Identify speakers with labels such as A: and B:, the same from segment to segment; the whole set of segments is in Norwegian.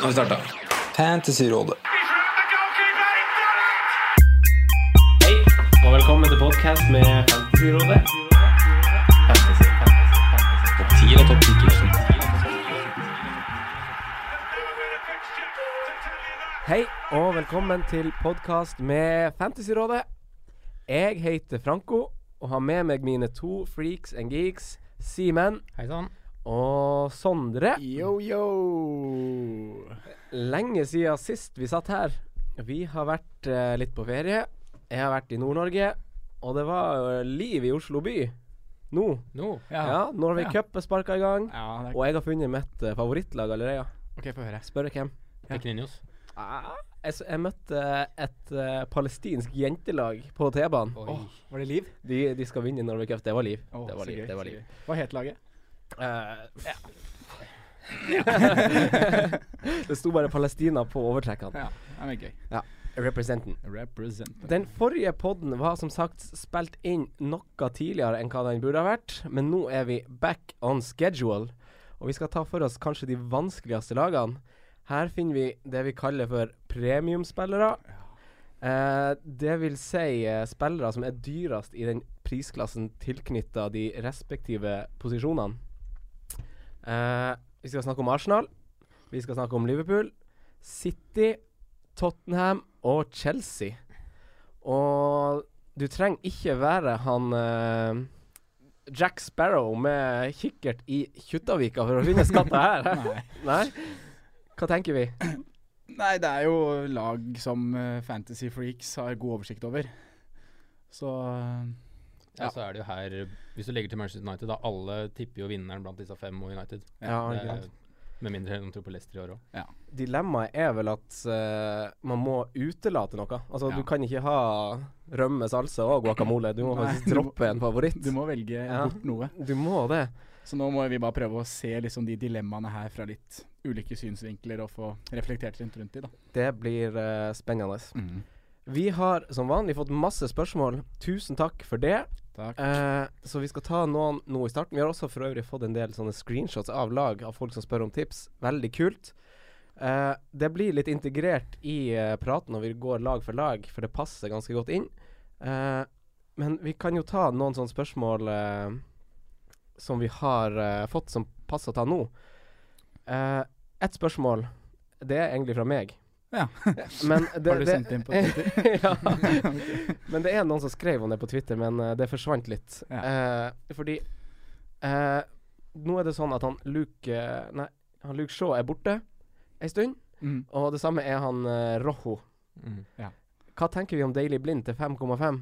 A: har vi starta.
B: Fantasyrådet.
C: Hei, og velkommen til podcast med Fantasyrådet. Topp 10 og topp 10 Hei, og velkommen til podcast med Fantasyrådet. Jeg heter Franco, og har med meg mine to freaks and geeks, Simen
D: Hei sann.
C: og Sondre.
D: Yo, yo.
C: Lenge siden sist vi satt her. Vi har vært eh, litt på ferie. Jeg har vært i Nord-Norge. Og det var eh, liv i Oslo by nå.
D: Nå?
C: Ja, Norway
D: Ja.
C: Cup er sparka i gang.
D: Ja, det er
C: Og jeg har funnet mitt eh, favorittlag allerede.
D: OK, få høre.
C: Spør hvem.
D: Pekininios.
C: Ah, Jeg, s- jeg møtte et eh, palestinsk jentelag på T-banen.
D: Oi. var det liv?
C: De, de skal vinne i Norway Cup. Det var liv. det var liv. det var liv.
D: Hva het laget?
C: Eh, det sto bare Palestina på overtrekkene.
E: Ja, det er gøy.
C: Representen.
E: Represent.
C: Den forrige podden var som sagt spilt inn noe tidligere enn hva den burde ha vært, men nå er vi back on schedule. Og vi skal ta for oss kanskje de vanskeligste lagene. Her finner vi det vi kaller for premiumspillere. Eh, det vil si eh, spillere som er dyrest i den prisklassen tilknytta de respektive posisjonene. Eh, vi skal snakke om Arsenal. Vi skal snakke om Liverpool, City, Tottenham og Chelsea. Og du trenger ikke være han eh, Jack Sparrow med kikkert i Kjuttaviga for å finne skatta her.
E: Nei.
C: Nei? Hva tenker vi?
E: Nei, det er jo lag som eh, Fantasy Freaks har god oversikt over. Så eh,
D: Ja. så Altså, er det jo her Hvis du legger til Manchester United, da. Alle tipper jo vinneren blant disse fem og United.
C: Ja, ikke
D: Det er-
C: sant.
D: med mindre noen tror på Leicester i år òg.
C: Dilemmaet er vel at eh, man må utelate noe. Altså,
E: Ja.
C: Du kan ikke ha rømme, salsa og guacamole. Du må
E: Nei,
C: faktisk
E: du må-
C: droppe en favoritt.
E: du må velge
C: Ja.
E: bort noe.
C: Du må det.
E: Så nå må vi bare prøve å se liksom de dilemmaene her fra litt ulike synsvinkler og få reflektert litt rundt de, da.
C: Det blir eh, spennende. Vi har som vanlig fått masse spørsmål. Tusen takk for det.
E: Takk.
C: Eh, så vi skal ta noen nå i starten. Vi har også for øvrig fått en del sånne screenshots av lag av folk som spør om tips. Veldig kult. Eh, det blir litt integrert i eh, praten når vi går lag for lag, for det passer ganske godt inn. Eh, men vi kan jo ta noen sånne spørsmål eh, som vi har eh, fått, som passer å ta nå. Uh, Ett spørsmål. Det er egentlig fra meg.
E: Ja.
C: Men det,
E: Har du sendt inn på
C: Twitter? ja.
E: Ok.
C: Men det er noen som skrev om det på Twitter, men eh, det forsvant litt.
E: Ja.
C: Eh, fordi eh, nå er det sånn at han Luke eh, Nei, han Luke Shaw er borte ei stund,
E: Mm.
C: og det samme er han eh, Rojo. Hva tenker vi om Daily Blind til 5,5?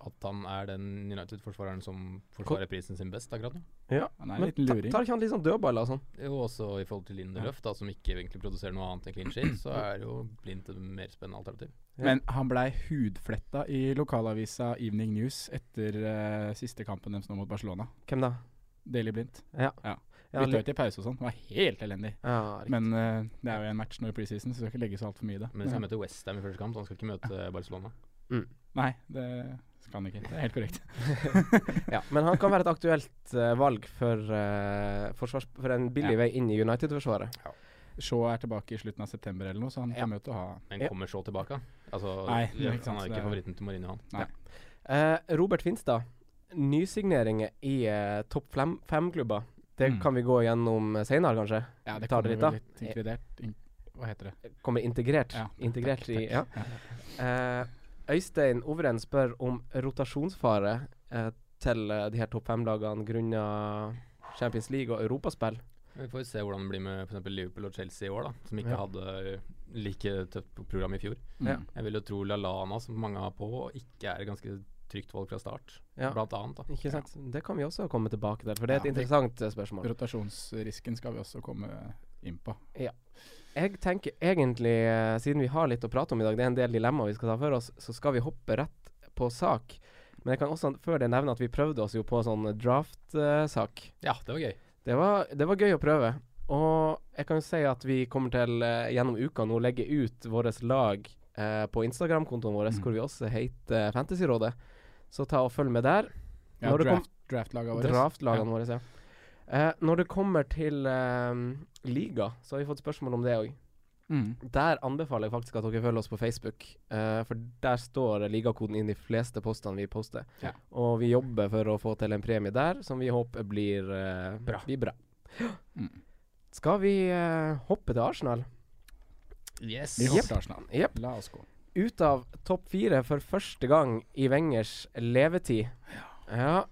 D: At han er den United-forsvareren som forsvarer prisen sin best akkurat nå.
E: Han er en
C: Men
E: liten
C: ta-
E: luring.
C: tar ikke han litt sånn dødballer og sånn?
D: Jo, også i forhold til Lindelöf, da, som ikke egentlig produserer noe annet enn clean sheet, så er jo Blind et mer spennende alternativ.
C: Ja.
E: Men han blei hudfletta i lokalavisa Evening News etter eh, siste kampen deres nå mot Barcelona.
C: Hvem da?
E: Daily Blindt.
C: Ja,
E: Bytta
C: Lu-
E: ut i pause og sånn. Var helt elendig.
C: ja, riktig.
E: Men eh, det er jo en match nå i preseason, så du skal ikke legge så altfor mye i det.
D: Men hvis han møter Westham i første kamp, så han skal ikke møte Barcelona.
E: Nei, det skal han ikke. Det er helt korrekt.
C: ja, men han kan være et aktuelt eh, valg for, eh, forsvars for en billig
E: Ja.
C: vei inn i United-forsvaret.
E: Shaw er tilbake i slutten av september eller noe, så han kommer jo til å ha
D: Men
C: Ja.
D: kommer så tilbake? han? Altså,
E: Nei,
D: det er-
E: ikke sant,
D: han er jo
E: det
D: ikke
E: er-
D: favoritten til Mourinho, han.
C: Eh, Robert Finstad, nysigneringer i eh, topp fem- fem-klubber. Det
E: Mm.
C: kan vi gå gjennom seinere, kanskje.
E: Ja, det
C: Tar
E: kommer
C: det
E: vel
C: litt,
E: litt inkludert in Hva heter det?
C: Kommer integrert.
E: Ja,
C: integrert
E: takk,
C: i ja. Eh, Øystein Overen spør om rotasjonsfare eh, til eh, de her topp fem-lagene grunna Champions League og europaspill.
D: Vi får se hvordan det blir med for eksempel Liverpool og Chelsea i år, da, som ikke
C: Ja.
D: hadde like tøft program i fjor.
C: Ja.
E: Mm.
D: Jeg vil jo tro Lallana, som mange har på, ikke er et ganske trygt valg fra start,
C: Ja.
D: blant annet. da.
C: Ikke sant? Det kan vi også komme tilbake til, for det er
E: Ja,
C: et
E: det-
C: interessant eh, spørsmål.
E: Rotasjonsrisken skal vi også komme inn på.
C: Jeg tenker egentlig, eh, siden vi har litt å prate om i dag, det er en del dilemma vi skal ta for oss, så skal vi hoppe rett på sak. Men jeg kan også før det nevne at vi prøvde oss jo på sånn draft-sak.
D: Ja, det var gøy.
C: Det, var- det var gøy å prøve. Og jeg kan jo si at vi kommer til eh, gjennom uka nå legge ut vårt lag eh, på Instagram-kontoen vår,
E: Mm.
C: hvor vi også heter Fantasyrådet. Så ta og følg med der.
E: Ja,
C: Når det kom-
E: draft, Draftlaga våre.
C: Draftlagene våre, ja. Eh, når det kommer til eh, liga, så har vi fått spørsmål om det òg.
E: Mm.
C: Der anbefaler jeg faktisk at dere følger oss på Facebook, eh, for der står ligakoden inn i de fleste postene vi poster.
E: Ja.
C: Og vi jobber for å få til en premie der, som vi håper blir eh,
D: Bra.
C: Blir bra.
E: Mm.
C: Skal vi eh, hoppe til Arsenal?
D: Yes.
E: Vi hopper til Arsenal.
C: Jepp.
E: La oss gå.
C: Ut av topp fire for første gang i Wengers levetid. Ja.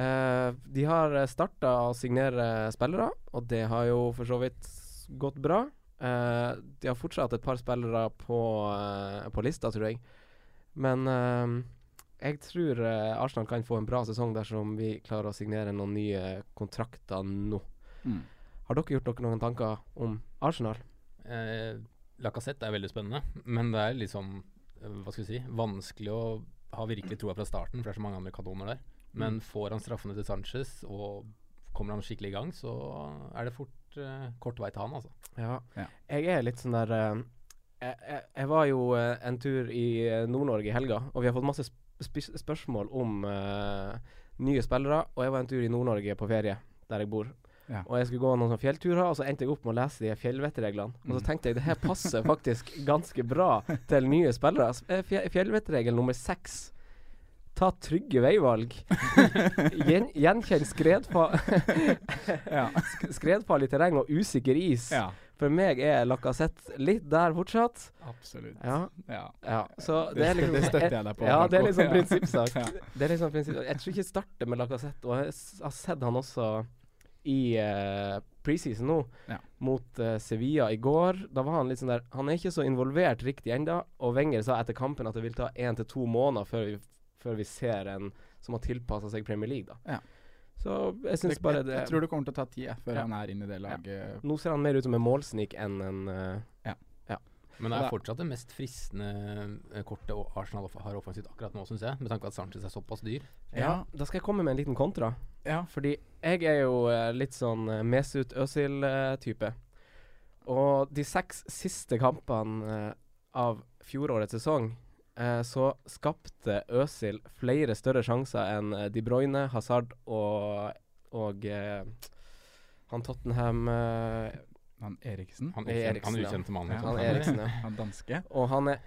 C: Eh, de har starta å signere spillere, og det har jo for så vidt gått bra. Eh, de har fortsatt et par spillere på, eh, på lista, tror jeg. Men eh, jeg tror eh, Arsenal kan få en bra sesong dersom vi klarer å signere noen nye kontrakter nå.
E: Mm.
C: Har dere gjort dere noen tanker om Arsenal?
D: Eh, Lacassette er veldig spennende, men det er liksom eh, hva skal vi si, vanskelig å ha virkelig troa fra starten, for det er så mange andre kanoner der. Men
C: Mm.
D: får han straffene til Sanchez, og kommer han skikkelig i gang, så er det fort eh, kort vei til han, altså.
C: Ja.
E: Ja.
C: Jeg er litt sånn der eh, jeg, jeg, jeg var jo eh, en tur i eh, Nord-Norge i helga, og vi har fått masse sp spis- spørsmål om eh, nye spillere. Og jeg var en tur i Nord-Norge på ferie, der jeg bor.
E: Ja.
C: Og jeg skulle gå noen sånne fjellturer, og så endte jeg opp med å lese de her fjellvettreglene. Og så
E: Mm.
C: tenkte jeg det her passer faktisk ganske bra til nye spillere. S- eh, fje- Fjellvettregel nummer seks. Ta trygge veivalg. Gjen gjenkjenn skredfa
E: Ja.
C: skredfarlig terreng og usikker is.
E: ja.
C: For meg er Lacassette litt der fortsatt.
E: Absolutt.
C: Ja.
E: Ja.
C: ja. Så det, er
E: stø-
C: liksom
E: det støtter jeg deg på.
C: Ja, det er liksom
E: Ja.
C: prinsippsak.
E: Ja.
C: Det er liksom prinsipp. Jeg tror ikke jeg starter med Lacassette, og jeg s- har sett han også i eh, preseason nå,
E: Ja.
C: mot eh, Sevilla i går. Da var han litt sånn der Han er ikke så involvert riktig ennå, og Wenger sa etter kampen at det vil ta én til to måneder før vi, før vi ser en som har tilpassa seg Premier League, da.
E: Ja.
C: Så jeg syns
E: Det-
C: bare
E: jeg,
C: det
E: jeg tror det kommer til å ta tid jeg, før
C: Ja.
E: han er inne i det laget.
C: Nå ser han mer ut som en målsnik enn en eh,
D: Men det
E: Ja.
D: er fortsatt det mest fristende eh, kortet o- Arsenal off- har offensivt akkurat nå, syns jeg, med tanke på at Sanchez er såpass dyr.
C: ja, da skal jeg komme med en liten kontra.
E: Ja.
C: Fordi jeg er jo eh, litt sånn eh, Mesut Özil-type. Og de seks siste kampene eh, av fjorårets sesong, eh, så skapte Özil flere større sjanser enn eh, De Bruyne, Hazard og, og eh, han Tottenham eh,
E: Han Eriksen,
D: Han,
C: Det er
D: ukjent, han
C: Eriksen, ja.
D: ukjente mannen.
E: Ja,
D: liksom.
C: Han Eriksen, ja.
E: han danske.
C: Og han er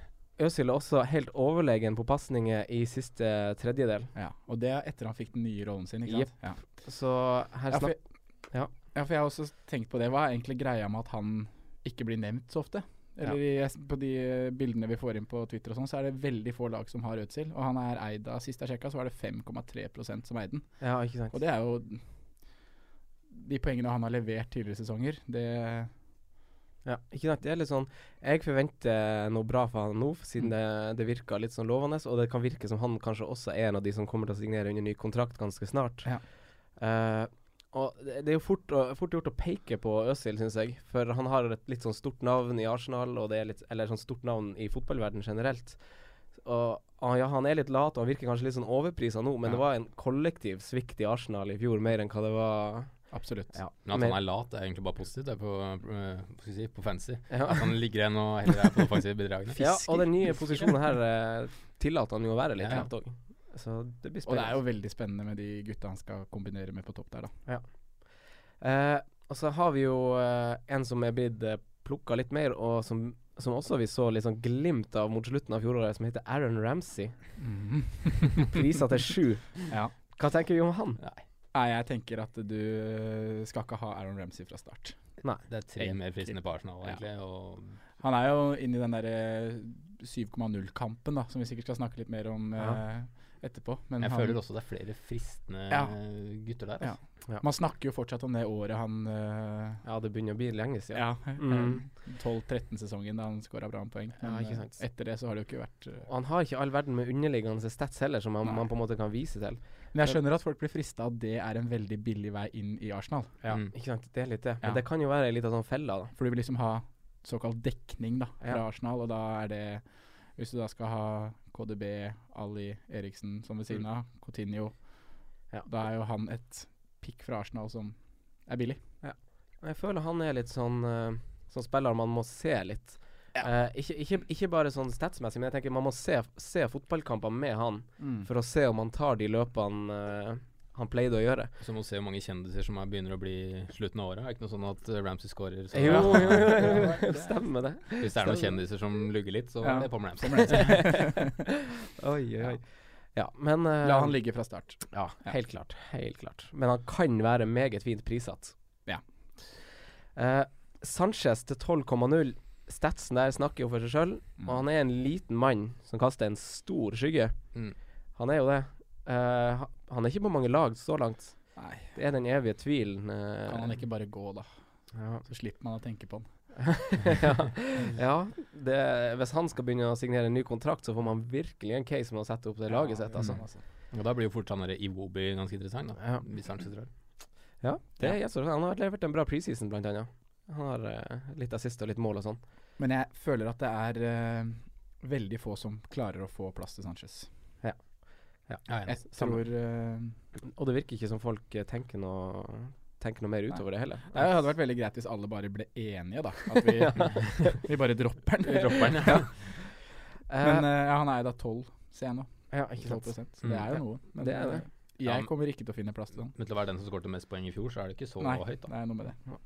C: Øzil er også helt overlegen på pasninger i siste tredjedel.
E: Ja. Og det er etter han fikk den nye rollen sin, ikke
C: Jep.
E: sant? Ja.
C: Så her
E: Ja, for,
C: snakker Ja.
E: ja, for jeg har også tenkt på det. Hva er egentlig greia med at han ikke blir nevnt så ofte? Eller i, På de eh, bildene vi får inn på Twitter, og sånn, så er det veldig få lag som har Ødsild. Og han er eid av, sist jeg sjekka, så var det 5,3 som eide den.
C: Ja, ikke sant.
E: Og det er jo De poengene han har levert tidligere sesonger, det
C: Ja, ikke sant. Det er litt sånn Jeg forventer noe bra fra han nå, siden det, det virker litt sånn lovende. Og det kan virke som han kanskje også er en av de som kommer til å signere under ny kontrakt ganske snart.
E: Ja.
C: Eh, og det det er jo fort, å, fort gjort å peke på Øzil, syns jeg. For han har et litt sånn stort navn i Arsenal, og det er litt, eller sånn stort navn i fotballverden generelt. Og ah, ja, han er litt lat, og han virker kanskje litt sånn overprisa nå, men
E: Ja.
C: det var en kollektiv svikt i Arsenal i fjor, mer enn hva det var
E: Absolutt.
C: Ja.
D: Men at
C: Men-
D: han er lat, er egentlig bare positivt. Det er på, eh, hva skal jeg si, på fancy.
C: Ja.
D: At han ligger igjen og heller er på de offensive bidragene.
C: Ja, og den nye posisjonen her eh, tillater han jo å være litt
D: Ja.
C: kjapt òg. Så det blir
E: Og det er jo
C: spennende.
E: veldig spennende med de gutta han skal kombinere med på topp der, da.
C: Eh, og så har vi jo eh, en som er blitt eh, plukka litt mer, og som, som også vi så litt sånn glimt av mot slutten av fjoråret, som heter Aaron Ramsey. Prisa til sju.
E: Ja.
C: Hva tenker vi om han?
E: Nei, jeg tenker at du eh, skal ikke ha Aaron Ramsey fra start.
D: Det er tre mer fristende på Arsenal,
E: Ja.
D: egentlig. Og
E: Han er jo inne i den der eh, 7,0-kampen, da, som vi sikkert skal snakke litt mer om
C: Ja.
E: eh, etterpå. Men
D: jeg
E: han,
D: føler også det er flere fristende
E: Ja.
D: eh, gutter der.
E: Ja.
D: Altså.
E: man snakker jo fortsatt om det året han eh,
C: Ja, det begynner å bli lenge siden.
E: Ja,
C: Mm.
E: eh, 12-13-sesongen da han skåra bra med poeng.
C: Ja,
E: Men,
C: ikke
E: eh,
C: sant.
E: etter det så har det jo ikke vært eh,
C: Og han har ikke all verden med underliggende stats heller, som han,
E: Nei.
C: man på en måte kan vise til.
E: Men jeg skjønner at folk blir frista at det er en veldig billig vei inn i Arsenal.
D: Mm.
C: Ikke sant, det er litt det. Men
E: Ja.
C: det kan jo være ei lita sånn felle, da.
E: For du vil liksom ha såkalt dekning da fra
C: Ja.
E: Arsenal, og da er det Hvis du da skal ha KDB, Ali Eriksen som ved siden av, Coutinho
C: Mm. Ja.
E: Da er jo han et pick fra Arsenal som er billig.
C: Jeg føler han er litt sånn eh, Sånn spiller man må se litt. Eh, ikke, ikke, ikke bare sånn statsmessig, men jeg Mm. tenker man må se, se fotballkamper med han for å se om han tar de løpene eh, han pleide å gjøre.
D: Så må vi se hvor mange kjendiser som er, begynner å bli slutten av året. Er det ikke noe sånn at eh, Ramsey scorer? Så
C: Jo, jo, jo, jo. stemmer det.
D: Hvis det er noen kjendiser som lugger litt, så
E: Ja.
D: er det Pam Ramsey.
E: Som Ramsey.
C: Oi, oi, oi. Ja, men eh,
E: La han ligge fra start.
C: Ja, helt klart. Helt klart. Men han kan være meget fint prissatt.
E: Ja.
C: Eh, Sanchez til 12,0. Statsen der snakker jo for seg sjøl.
E: Mm.
C: Og han er en liten mann som kaster en stor skygge.
D: Mm.
C: Han er jo det. Eh, ha- han er ikke på mange lag så langt.
E: Nei,
C: Det er den evige tvilen. eh,
E: kan han ikke bare gå, da?
C: Ja.
E: Så slipper man å tenke på han.
C: ja. ja det, hvis han skal begynne å signere en ny kontrakt, så får man virkelig en case med å sette opp det laget sitt, altså.
D: Og da blir jo fort sånn der Iwobi ganske interessant, da.
C: Ja.
D: Hvis han ikke drar.
C: Ja, det er Jesper. Han har levert en bra preseason, blant annet. Han har eh, litt assist og litt mål og sånn.
E: Men jeg føler at det er eh, veldig få som klarer å få plass til Sanchez.
D: Ja, jeg er enig.
E: Jeg
C: Samme.
E: tror eh,
C: Og det virker ikke som folk eh, tenker noe, tenker noe mer utover det heller.
E: Det hadde vært veldig greit hvis alle bare ble enige, da. At vi, vi bare dropper den.
D: Dropperen, ja.
C: Eh,
E: Men eh, ja, han er da 12, ser jeg nå.
C: ja, ikke
E: 12
C: sant.
E: Så det er jo noe. Men
C: Det er det.
E: eh,
D: Ja, men-
E: jeg kommer ikke til å finne plass til han.
D: Men til å være den som skåret mest poeng i fjor, så er det ikke så
E: Nei,
D: høyt, da.
E: det er noe med det.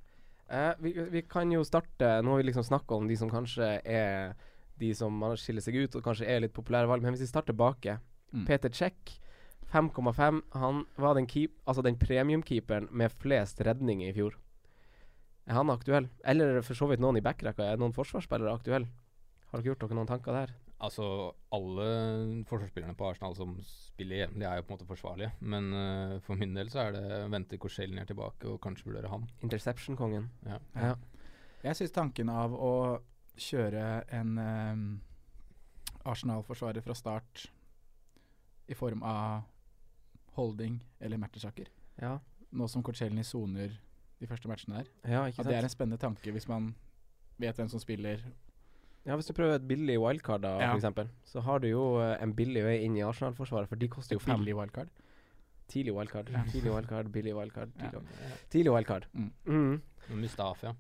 C: Eh, vi, vi kan jo starte Nå har vi liksom snakka om de som kanskje er de som man skiller seg ut, og kanskje er litt populære valg, men hvis vi starter bake
E: Mm.
C: Peter Check, 5,5. Han var den, keep, altså den premiumkeeperen med flest redninger i fjor. Er han aktuell? Eller er det for så vidt noen i backrekka? Er noen forsvarsspillere aktuelle? Har dere gjort dere noen tanker der?
D: Altså, alle forsvarsspillerne på Arsenal som spiller jevnlig, er jo på en måte forsvarlige. Men eh, for min del så er det vente Korselny er tilbake, og kanskje vurdere han.
C: Interception-kongen.
D: Ja.
C: Ja.
E: Jeg syns tanken av å kjøre en ehm, Arsenal-forsvarer fra start i form av holding eller matchersaker,
C: Ja,
E: nå som Kortsjelny soner de første matchene der,
C: ja ikke
E: at
C: sant?
E: det er en spennende tanke hvis man vet hvem som spiller.
C: Ja, Hvis du prøver et billig wildcard, da,
E: Ja.
C: for eksempel så har du jo eh, en billig vei inn i Arsenal-forsvaret, for de koster jo fem.
E: Billig wildcard.
C: Tidlig wildcard,
E: Ja.
C: tidlig wildcard, billig wildcard.
E: Ja.
C: Tidlig, wildcard. tidlig wildcard.
E: Mm.
C: Mm.
D: Men Mustafi, ja.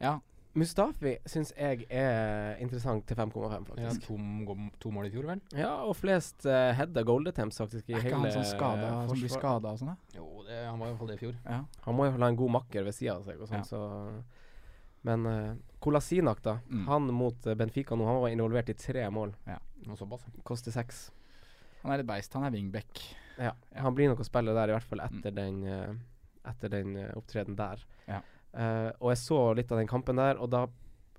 E: Ja,
C: Mustafi syns jeg er interessant til 5,5,
D: ja
C: faktisk.
D: to, m- gå- to mål i fjor, vel?
C: Ja. og flest uh, heada goal attempts, faktisk. I
E: er ikke
C: hele
E: han sånn skada,
C: eh,
E: som blir
C: forsvar-
E: skada og sånn? da?
D: Jo, det, han var i hvert fall det i fjor.
E: Ja.
C: Han må jo ha en god makker ved sida av seg, og sånn,
E: Ja.
C: så Men eh, Kolasinak, da.
E: Mm.
C: Han mot eh, Benfica nå, han var involvert i tre mål.
D: Og såpass. ja.
C: Koster seks.
E: Han er et beist. Han er wingback.
C: Ja.
E: Ja. Mm.
C: Han blir nok å spille der, i hvert fall etter den eh, Etter den eh, opptredenen der.
E: Ja.
C: Eh, og jeg så litt av den kampen der, og da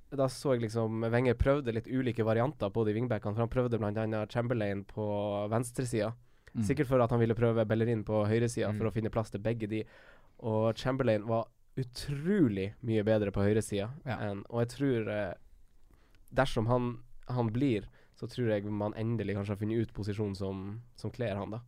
C: da så jeg liksom Wenger prøvde litt ulike varianter på de wingbackene. For han prøvde bl.a. Chamberlain på venstresida.
E: Mm.
C: Sikkert for at han ville prøve Bellerin på høyresida
D: Mm.
C: for å finne plass til begge de. Og Chamberlain var utrolig mye bedre på høyresida.
E: Ja.
C: enn- Og jeg tror eh, Dersom han, han blir, så tror jeg man endelig kanskje har funnet ut posisjonen som, som kler han, da.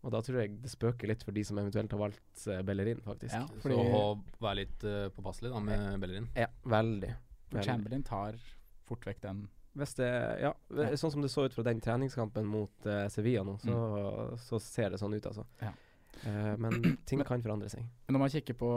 C: Og da tror jeg det spøker litt for de som eventuelt har valgt eh, Bellerin, faktisk.
E: Ja,
D: Så
E: fordi
D: å være litt eh, påpasselig da med Bellerin.
C: Ja, veldig.
E: for
C: veldig.
E: Chamberlain tar fort vekk den.
C: Hvis det, ja, v-
E: Ja.
C: Sånn som det så ut fra den treningskampen mot eh, Sevilla nå, så, så ser det sånn ut, altså.
E: Mm. Ja.
C: Eh, men ting kan forandre seg.
E: Men når man kikker på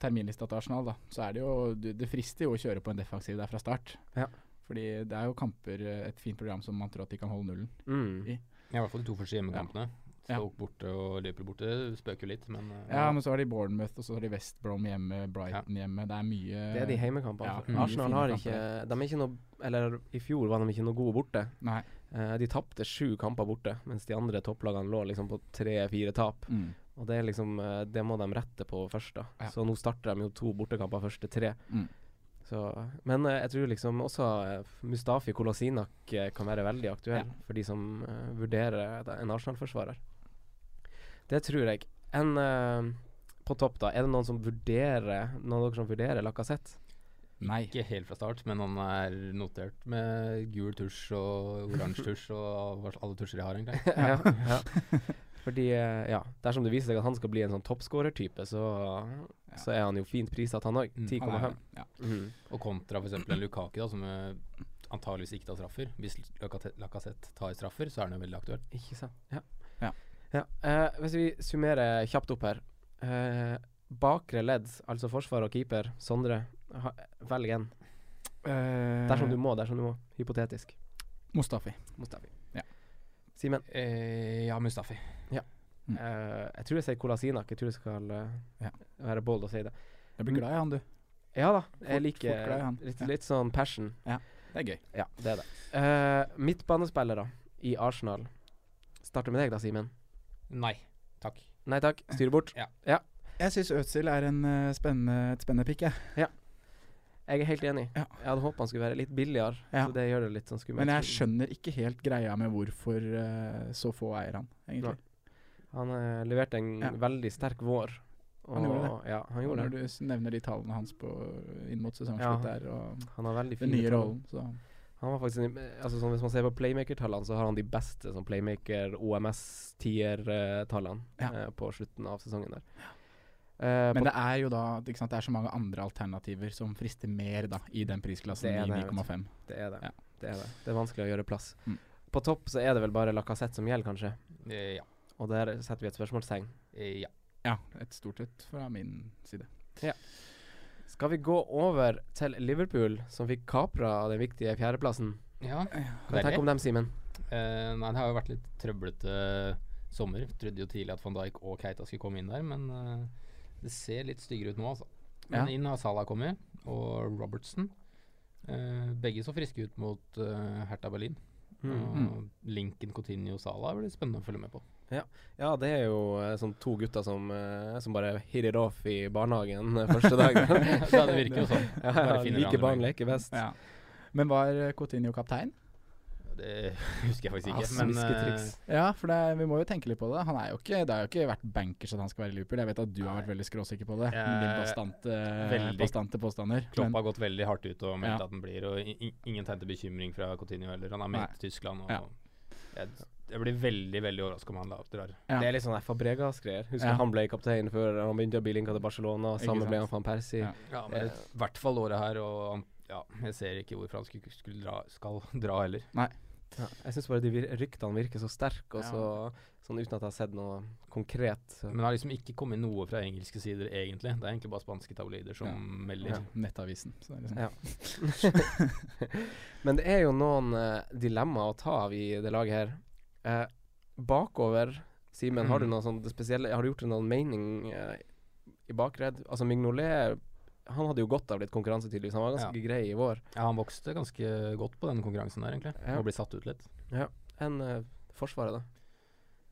E: terminlista til Arsenal, da, så er det jo du- Det frister jo å kjøre på en defensiv der fra start.
C: Ja.
E: Fordi det er jo kamper, eh, et fint program som man tror at de kan holde nullen.
C: Mm.
D: Ja, I hvert fall de to første hjemmekampene.
E: Ja.
D: Stoke borte og Liverpool borte spøker jo litt, men eh,
E: Ja, men så har de Bournemouth, og så har de West Brom hjemme, Brighton hjemme. Det er mye
C: Det er de heimekampene.
E: Eh, Ja,
C: for
D: mm.
C: Arsenal
E: fine
C: har
E: kamper
C: ikke De er ikke noe Eller i fjor var de ikke noe gode borte.
E: Nei.
C: Eh, de tapte sju kamper borte, mens de andre topplagene lå liksom på tre-fire tap.
E: Mm.
C: Og det er liksom eh, Det må de rette på først, da.
E: Ja.
C: Så nå starter de jo to bortekamper første tre.
E: Mm.
C: Så, men eh, jeg tror liksom også eh, Mustafi Kolasinak eh, kan være veldig aktuell for de som eh, vurderer et- en Arsenal-forsvarer. Det tror jeg. En eh, på topp, da. Er det noen som vurderer Noen av dere som vurderer Lacassette?
E: Nei.
D: ikke helt fra start. Men han er notert med gul tusj og oransje tusj og hva- alle tusjer jeg har, egentlig.
C: ja. Fordi, eh, ja, dersom det viser seg at han skal bli en sånn toppskårertype, så,
E: Ja.
C: så er han jo fint priset, han òg.
D: Mm,
E: Han er
C: 10,5.
E: det. Ja.
C: Mm.
D: Og kontra f.eks. en Lukaki, da, som eh, antageligvis ikke tar straffer. Hvis Lacassette tar straffer, så er han jo veldig aktuell.
C: Ikke sant. Ja.
E: Ja.
C: Ja, eh, hvis vi summerer kjapt opp her. Eh, bakre ledd, altså forsvar og keeper, Sondre. Ha, velg en.
E: Eh,
C: Dersom du må, dersom du må. Hypotetisk.
E: Mustafi.
C: Mustafi.
E: Ja.
C: Simen.
D: ja, Mustafi.
E: Mm.
C: Eh, jeg tror jeg sier Kolasinac. Jeg tror jeg skal eh,
E: Ja.
C: være bold og si det.
E: Jeg blir glad i han, du.
C: Ja da, jeg
E: Fort-
C: liker
E: fort glad i han.
C: litt,
E: Ja.
C: litt sånn passion.
E: Det er gøy.
C: Ja, det er det. Eh, midtbanespillere i Arsenal. Starter med deg da, Simen.
D: Nei, takk.
C: Nei takk, styr bort.
E: Jeg syns Øzil er en eh, spennende, et spennende pick, jeg.
C: Jeg er helt enig.
E: Ja.
C: Jeg hadde håpet han skulle være litt billigere,
E: Ja.
C: så det gjør det litt sånn skummelt.
E: Men jeg skjønner ikke helt greia med hvorfor eh, så få eier han, egentlig.
C: Han eh, leverte en
E: Ja.
C: veldig sterk vår.
E: Han gjorde
C: det. Ja, han
E: Og
C: gjorde det.
E: Når du s- nevner de tallene hans på, inn mot
C: Ja.
E: sesongslutt der, og
C: Han har veldig
E: den
C: fine
E: nye
C: tall.
E: rollen, så
C: Han var faktisk en, altså sånn Hvis man ser på playmaker-tallene, så har han de beste sånn playmaker-OMS-tier-tallene
E: Ja.
C: eh, på slutten av sesongen der. Eh, på,
E: Men det er jo da ikke sant, det er så mange andre alternativer som frister mer da i den prisklassen
C: Det er
E: i
C: det, vet du.
E: 9,5.
C: det, er det.
E: ja.
C: det er det. Det er vanskelig å gjøre plass.
E: Mm.
C: På topp så er det vel bare Lacassette som gjelder, kanskje.
D: Eh, Ja.
C: Og der setter vi et spørsmålstegn.
D: Eh, ja.
E: Ja, et stort et fra min side.
C: Skal vi gå over til Liverpool, som fikk kapra den viktige fjerdeplassen?
D: ja.
C: Hva tenker du om dem, Simen?
D: Eh, nei, det har jo vært litt trøblete eh, sommer. Trodde jo tidlig at van Dijk og Keita skulle komme inn der, men eh, det ser litt styggere ut nå, altså. Men
E: Ja.
D: inn har Salah kommet, og Robertson. Eh, begge så friske ut mot eh, Hertha Berlin.
C: Mm.
D: Og Lincoln, Coutinho og Salah blir spennende å følge med på.
C: Ja, det er jo eh, sånn to gutter som, eh, som bare hit it off i barnehagen eh, første dagen.
D: ja, det virker jo sånn.
C: ja, ja,
D: Bare finner
C: like
D: hverandre.
C: barn leker best.
E: Ja. Men var eh, Coutinho kaptein?
D: Det husker jeg faktisk ikke.
C: Ah,
D: men eh,
C: smisketriks.
E: Ja, for det, er- vi må jo tenke litt på det. Han er jo ikke, det har jo ikke vært bankers at han skal være i Liverpool. Jeg vet at du har vært veldig skråsikker på det.
D: Jeg-
E: med Din bastante,
D: Veldig.
E: bastante påstander.
D: Klopp
E: Men-
D: har gått veldig hardt ut og meldt
E: Ja.
D: at den blir, og i- i- ingen tegn til bekymring fra Coutinho heller. Han er med
E: Nei.
D: til Tyskland, og
E: Ja.
D: jeg, jeg blir veldig veldig overraska om han la- drar.
E: Ja.
C: Det er litt sånn Fabregas-greier. Husker
E: Ja.
C: han ble kaptein før han begynte å bli linka til Barcelona.
E: Ikke
C: Sammen ble
E: sant.
C: han van Persie.
E: Ja.
D: Ja, men
C: Eh.
D: i hvert fall året her, og han, ja, jeg ser ikke hvorfor han skulle, skulle dra, skal dra heller.
C: Ja. Jeg syns bare de vir ryktene virker så sterke, og så sånn uten at jeg har sett noe konkret. eh, Så.
D: Men det har liksom ikke kommet noe fra engelske sider, egentlig. Det er egentlig bare spanske tabloider som
E: Ja.
D: melder.
E: Ja, Nettavisen. Så det er liksom.
C: Ja. Men det er jo noen eh, dilemmaer å ta av i det laget her. Eh, bakover, Simen, har du
D: Mm.
C: noe sånn det spesielle Har du gjort deg noen mening eh, i bakredd? Altså Mignolet han hadde jo godt av litt konkurranse, tydeligvis. Han var ganske grei i vår.
D: Ja, han vokste ganske godt på den konkurransen der, egentlig.
C: Ja.
D: Og ble satt ut litt.
C: Enn eh, Forsvaret, da?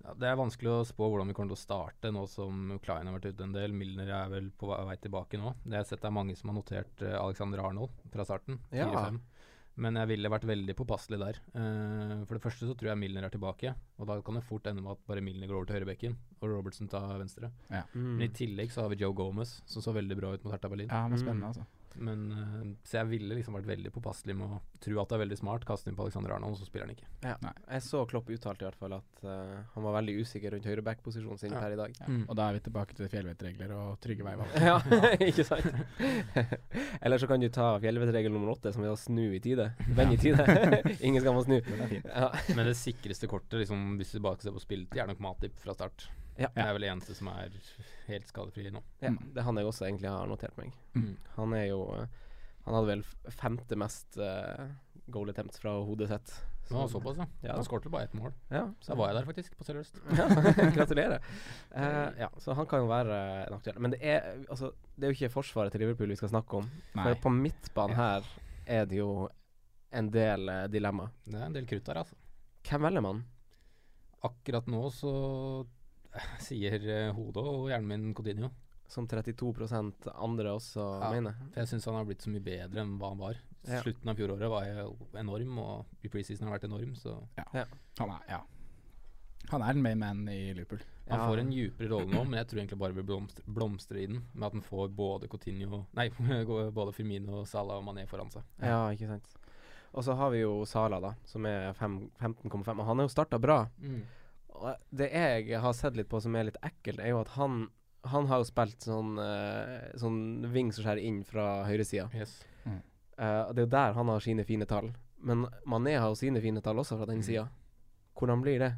D: Ja, det er vanskelig å spå hvordan vi kommer til å starte nå som Klein har vært ute en del. Milner er vel på ve- vei tilbake nå. Det jeg har sett er mange som har notert eh, Alexander Arnold fra starten.
C: Ja.
D: 4-5. Men jeg ville vært veldig påpasselig der. Eh, for det første så tror jeg Milner er tilbake. Og da kan det fort ende med at bare Milner går over til høyrebekken og Robertson tar venstre.
C: Mm.
D: Men i tillegg så har vi Joe Gomez, som så veldig bra ut mot Hertha Berlin.
E: ja, men
C: Mm.
E: spennende, altså.
D: Men, eh, så jeg ville liksom vært veldig påpasselig med å tro at det er veldig smart, kaste inn på Alexander Arnold, og så spiller han ikke.
C: Jeg så Klopp uttalte i hvert fall at eh, han var veldig usikker rundt høyreback-posisjonen sin
E: Ja.
C: per i dag.
E: Ja.
D: Mm.
E: Og da er vi tilbake til fjellvettregler og trygge veivalg.
C: ja, ikke sant? Eller så kan du ta fjellvettregel nummer åtte, som er å snu i tide. Vend i tide. Ingen skal må snu.
E: Den er fin.
C: Ja.
D: Men det sikreste kortet, liksom, hvis du bare skal se på spilletid, er nok Matip fra start.
C: Ja.
D: Det er vel det eneste som er helt skadefri nå.
C: ja, det er han jeg også egentlig har notert meg.
D: Mm.
C: Han er jo eh, Han hadde vel f- femte mest eh, goal attempts fra hodet sitt.
D: Det var såpass, ja.
C: Ja.
D: Han skåret bare ett mål.
C: Ja,
D: Så var jeg der faktisk, på Sør-Øst.
C: Ja, gratulerer. Eh, ja, så han kan jo være en aktuell. Men det er, altså, det er jo ikke forsvaret til Liverpool vi skal snakke om.
E: Nei.
C: For på midtbanen her er det jo en del eh, dilemma.
D: Det er en del krutt der, altså.
C: Hvem velger man?
D: Akkurat nå så sier eh, hodet og hjernen min Coutinho.
C: Som 32 andre også
D: Ja.
C: mener.
D: For jeg syns han har blitt så mye bedre enn hva han var.
C: Ja.
D: Slutten av fjoråret var jeg jo enorm, og i preseason har han vært enorm, så
E: Han er, ja. Han er en main man i Liverpool.
D: Han
C: Ja.
D: får en djupere rolle nå, men jeg tror egentlig bare vil blomstre, blomstre i den. Med at han får både Coutinho Nei, både Firmino, Salah og Mané foran seg.
C: Ja, ikke sant. Og så har vi jo Sala, da, som er fem- 15,5. Og han har jo starta bra. Og det jeg har sett litt på som er litt ekkelt, er jo at han han har jo spilt sånn, eh, sånn ving som skjærer inn fra høyresida.
D: Yes.
C: Eh, og det er jo der han har sine fine tall. Men Mané har jo sine fine tall også fra den
D: Mm.
C: sida. Hvordan blir det?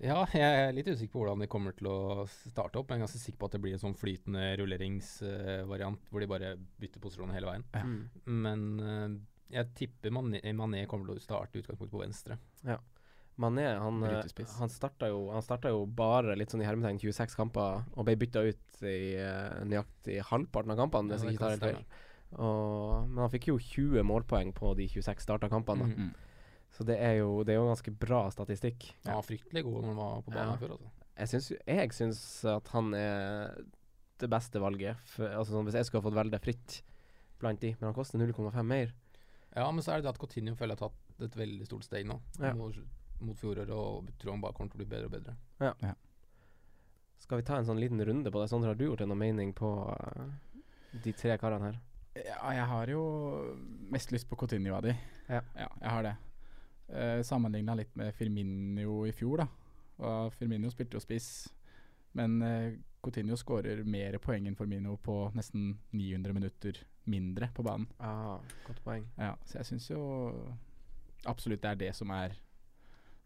D: Ja, jeg er litt usikker på hvordan de kommer til å starte opp. Men jeg er ganske sikker på at det blir en sånn flytende rulleringsvariant hvor de bare bytter posisjoner hele veien.
E: Ja.
C: Mm.
D: Men eh, jeg tipper Mané, Mané kommer til å starte i utgangspunktet på venstre.
C: Mané han, eh,
D: Bryter spiss.
C: han, starta jo, han starta jo bare litt sånn i hermetegn 26 kamper, og ble bytta ut i eh, nøyaktig halvparten av kampene.
D: Ja,
C: hvis
D: det
C: jeg ikke tar
D: kan
C: helt feil. Og, men han fikk jo 20 målpoeng på de 26 starta kampene, da.
D: Mm.
C: så det er, jo, det er jo ganske bra statistikk.
D: Han var fryktelig god når han var på banen
C: Ja.
D: her før. Altså.
C: Jeg syns, jeg syns at han er det beste valget. For, altså sånn, hvis jeg skulle ha fått velge fritt blant de, men han koster 0,5 mer.
D: Ja, men så er det det at Coutinho føler jeg har tatt et veldig stort steg nå.
C: Ja.
D: Mot, mot fjoråret, og tror han bare kommer til å bli bedre og bedre.
C: Skal vi ta en sånn liten runde på det? Sondre, har du gjort deg noen mening på eh, de tre karene her?
E: Ja, jeg har jo mest lyst på Coutinho av de.
C: Ja.
E: jeg har det. Uh, Sammenligna litt med Firmino i fjor, da. Og Firmino spilte jo spiss, men eh, Coutinho skårer mer poeng enn Firmino på nesten 900 minutter mindre på banen.
C: Ah, godt poeng.
E: Ja, så jeg syns jo absolutt det er det som er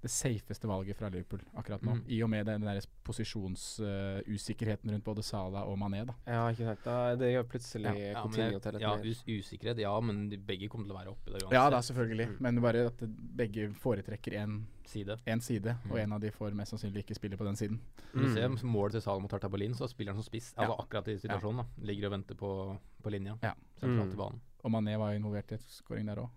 E: det safeste valget fra Liverpool akkurat nå.
D: Mm.
E: I og med den der posisjonsusikkerheten rundt både Salah og Mané, da.
C: Ja, ikke sant. Da, det gjør plutselig
D: Ja, men
C: Coutinho
D: jeg-
C: til et
D: ja,
C: mer.
D: us usikkerhet, ja, men de begge kommer til å være oppe der
E: Ja da,
D: uansett
E: selvfølgelig.
D: Mm.
E: Men bare at begge foretrekker én
D: side.
E: side, og
D: Mm.
E: en av de får mest sannsynlig ikke spille på den siden.
D: Du
C: Mm.
D: ser målet til Salo mot Hertha Berlin, så spiller han som spiss.
E: Ja.
D: Altså akkurat i situasjonen, da. Ligger og venter på, på linja.
E: Ja.
C: Mm.
D: Sentralt i banen.
E: Og Mané var jo involvert i et scoring der òg.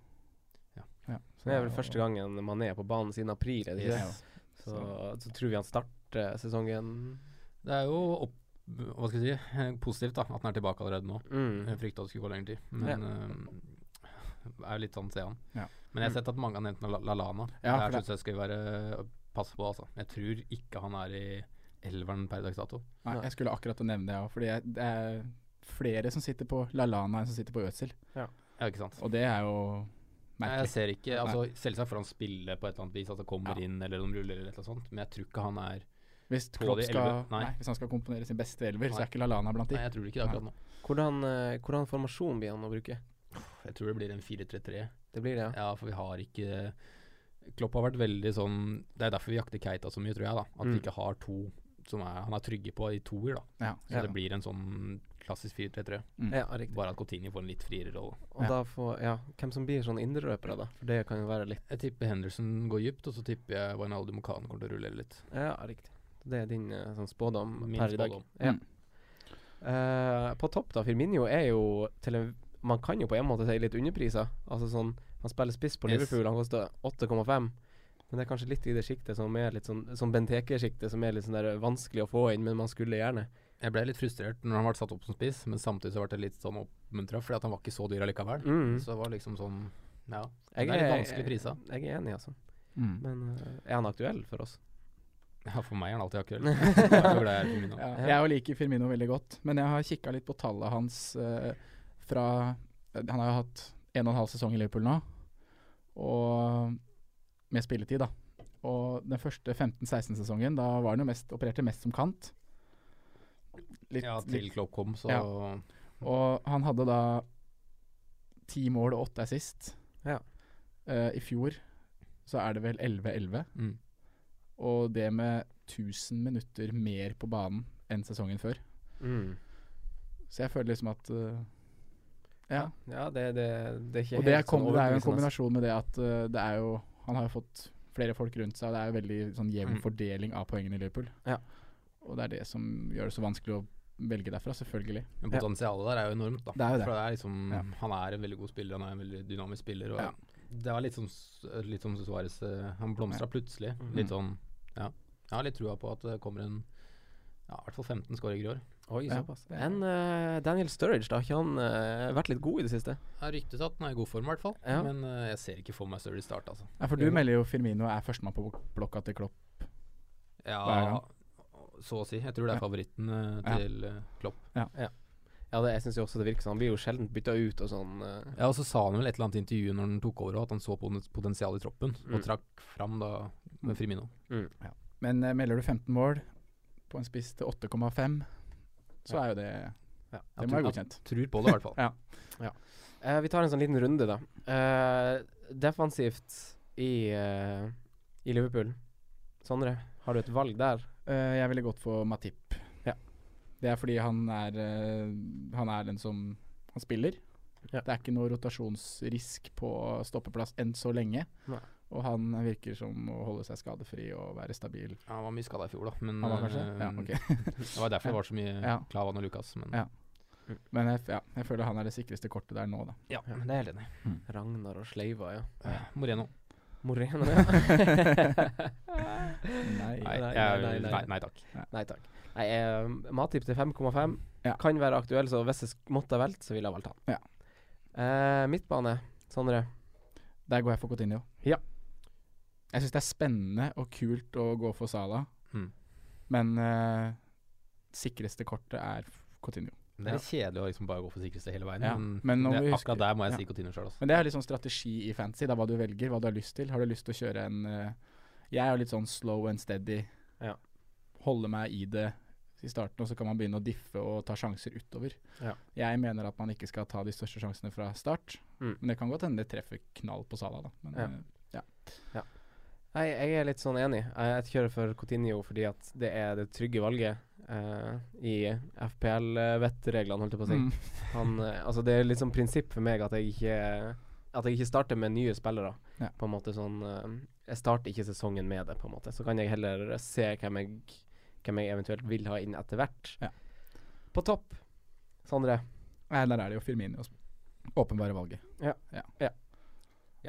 D: Ja.
E: så
C: Det er
E: jo-
C: vel første gangen Mané er på banen siden april, er det ikke
E: Yes.
C: det? Så, så tror vi han starter sesongen
D: Det er jo opp, hva skal jeg si, eh, positivt da, at han er tilbake allerede nå.
C: mm.
D: Jeg frykta det skulle gå lengre tid, men eh, er jo litt sånn, ser han.
E: Ja. Mm.
D: Men jeg har sett at mange har nevnt La- Lallana.
E: Ja, for
D: der
E: det-
D: syns jeg skal vi være passe på, altså. Jeg tror ikke han er i elveren per dags dato.
E: Nei,
C: Nei.
E: jeg skulle akkurat å nevne det òg, fordi jeg, det er flere som sitter på LaLana enn som sitter på Ødsel.
D: Ja, ikke sant.
E: Og det er jo
D: Nei,
E: merkelig.
D: jeg ser ikke, altså Selvsagt får han spille på et eller annet vis, at han kommer
E: Ja.
D: inn eller de ruller eller et eller annet sånt, men jeg tror ikke han er
E: Hvis,
D: På
E: Klopp
D: de
E: skal,
D: elleve? Nei.
E: nei. hvis han skal komponere sin beste elver, så
D: Nei.
E: er ikke LaLana blant de.
D: Nei, jeg tror ikke det akkurat nå.
C: hvordan, eh, hvordan formasjon blir han å bruke?
D: Jeg tror det blir en 4-3-3.
C: Det blir det, ja.
D: Ja, for vi har ikke Klopp har vært veldig sånn Det er derfor vi jakter Keita så mye, tror jeg. da At
C: Mm.
D: vi ikke har to som er, han er trygge på i toer. da
E: Ja,
D: Så
E: ja.
D: det blir en sånn klassisk 4-3-3.
C: Ja, riktig.
D: Bare at Coutinho får en litt friere rolle.
C: Og
E: Ja.
C: da får Ja, hvem som blir sånn indreløpere, da? For det kan jo være litt
D: Jeg tipper Henderson går dypt, og så tipper jeg Wijnaldum og Khan kommer til å rulle litt.
C: Ja, riktig. Det er din eh, sånn spådom
D: Min
C: per i dag.
D: spådom.
C: Ja.
E: Mm.
C: Eh, på topp, da. Firmino er jo til en Man kan jo på en måte si litt underpriser. Altså sånn Han spiller spiss på
D: Yes.
C: Liverpool, han koster 8,5. Men det er kanskje litt i det sjiktet som er litt sånn Som Benteke-sjiktet, som er litt sånn der vanskelig å få inn, men man skulle gjerne.
D: Jeg ble litt frustrert når han ble satt opp som spiss, men samtidig så ble det litt sånn oppmuntra, fordi at han var ikke så dyr allikevel.
C: Mm.
D: Så det var liksom sånn Ja.
C: Jeg
D: det er litt vanskelig prisa.
C: Jeg, er enig, altså.
E: Mm.
C: Men eh, er han aktuell for oss?
D: Ja, for meg er han alltid akkurat. Jeg er så glad jeg er på min nå.
E: Ja, jeg jo liker Firmino veldig godt, men jeg har kikka litt på tallet hans eh, fra eh, Han har jo hatt en og en halv sesong i Liverpool nå, og med spilletid, da. Og den første 15-16-sesongen, da var han jo mest opererte mest som kant. Litt,
D: Ja, til
E: litt,
D: Klopp kom, så
E: og han hadde da ti mål og åtte assist.
C: Ja.
E: Eh, I fjor så er det vel 11-11.
D: mm.
E: Og det med 1000 minutter mer på banen enn sesongen før.
C: Mm.
E: Så jeg føler liksom at øh, Ja.
C: Ja, det, det, det er ikke
E: Og det er,
C: helt sånn
E: kom, det er jo en
C: overbevisende, altså.
E: kombinasjon med det at øh, det er jo Han har jo fått flere folk rundt seg, og det er jo veldig sånn jevn
D: Mm.
E: fordeling av poengene i Liverpool.
C: Ja.
E: Og det er det som gjør det så vanskelig å velge derfra, selvfølgelig.
D: Men
C: Ja.
D: potensialet der er jo enormt, da.
E: Det er jo det.
D: For det er liksom,
E: Ja.
D: Han er en veldig god spiller, han er en veldig dynamisk spiller. Og
E: Ja.
D: Det er litt som, s- litt som Suarez, eh, han blomstra plutselig.
C: Mhm.
D: Litt sånn Ja. Jeg har litt trua på at det kommer en ja, i hvert fall 15 skåringer i år.
C: Oi,
E: Ja.
C: såpass. Enn eh, Daniel Sturridge, da? Har ikke han eh, vært litt god i det siste?
D: Det er ryktes at han er i god form, i hvert fall.
C: Ja.
D: Men eh, jeg ser ikke for meg Sturridge starte, altså.
E: Ja, for du melder jo Firmino er førstemann på blokka til Klopp. Hva er
D: Ja, så å si. Jeg tror det er favoritten eh,
E: Ja.
D: til eh, Klopp.
C: Ja, det, jeg syns jo også det virker sånn. Han blir jo sjelden bytta ut og sånn. eh.
D: Ja, og så sa han vel et eller annet i intervjuet når han tok over, at han så poten- potensial i troppen,
C: Mm.
D: og trakk fram da
E: Mm.
D: med Frimino.
E: Men øh, melder du 15 mål på en spiss til 8,5, så
C: Ja.
E: er jo det
C: Ja.
E: Det må være godkjent.
D: Tror på det, i hvert fall.
C: Eh, vi tar en sånn liten runde, da. Eh, defensivt i, eh, i Liverpool. Sondre, har du et valg der?
E: Eh, jeg ville gått for Matip.
C: Ja.
E: Det er fordi han er, eh, han er den som Han spiller.
C: Ja.
E: Det er ikke noe rotasjonsrisk på stoppeplass enn så lenge.
C: Nei.
E: Og han virker som å holde seg skadefri og være stabil.
D: Ja, Han var mye skada i fjor, da. Men
E: Han var kanskje?
D: eh,
E: Ja, ok.
D: det var derfor det var så mye
E: Ja.
D: Klavan og Lukas. Men
E: Ja. Men jeg, f- ja, jeg føler han er det sikreste kortet der nå, da.
D: ja, men det er jeg helt enig. i.
C: Ragnar og Sleiva, ja.
D: Eh, Moreno.
C: Moreno, ja.
E: Nei.
D: Nei,
C: nei,
D: jeg-
C: nei, nei,
D: nei, nei takk.
C: Nei takk. Nei, eh, Matip til 5,5
E: Ja.
C: kan være aktuell, så hvis jeg sk- måtte ha valgt, så ville jeg valgt han.
E: Ja.
C: Eh, midtbane, Sondre.
E: Der går jeg for Coutinho.
C: Ja.
E: Jeg syns det er spennende og kult å gå for Salah,
D: Mm.
E: men eh, sikreste kortet er Coutinho.
D: Det er litt kjedelig å liksom bare gå for sikreste hele veien.
E: Ja,
D: Men,
E: men når
D: det,
E: vi
D: akkurat
E: husker-
D: der må jeg
E: ja.
D: si Coutinho altså. sjøl.
E: Men det er litt sånn strategi i fantasy, da, hva du velger, hva du har lyst til. Har du lyst til å kjøre en eh, Jeg er jo litt sånn slow and steady.
C: Ja.
E: Holde meg i det i starten, og så kan man begynne å diffe og ta sjanser utover.
D: Ja.
E: Jeg mener at man ikke skal ta de største sjansene fra start,
C: Mm.
E: men det kan godt hende det treffer knall på Salah, da. Men,
C: Ja.
E: eh,
C: Nei, jeg er litt sånn enig. Jeg jeg kjører for Coutinho fordi at det er det trygge valget eh, i FPL-vettreglene, holdt jeg på å si.
E: mm.
C: Han, eh, altså det er litt sånn prinsipp for meg at jeg ikke At jeg ikke starter med nye spillere.
E: Ja.
C: På en måte sånn eh, Jeg starter ikke sesongen med det, på en måte. Så kan jeg heller se hvem jeg, hvem jeg eventuelt vil ha inn etter hvert.
E: Ja.
C: På topp, Sondre.
E: Nei, der er det jo Firmino som åpenbare valget.
C: Ja. Ja.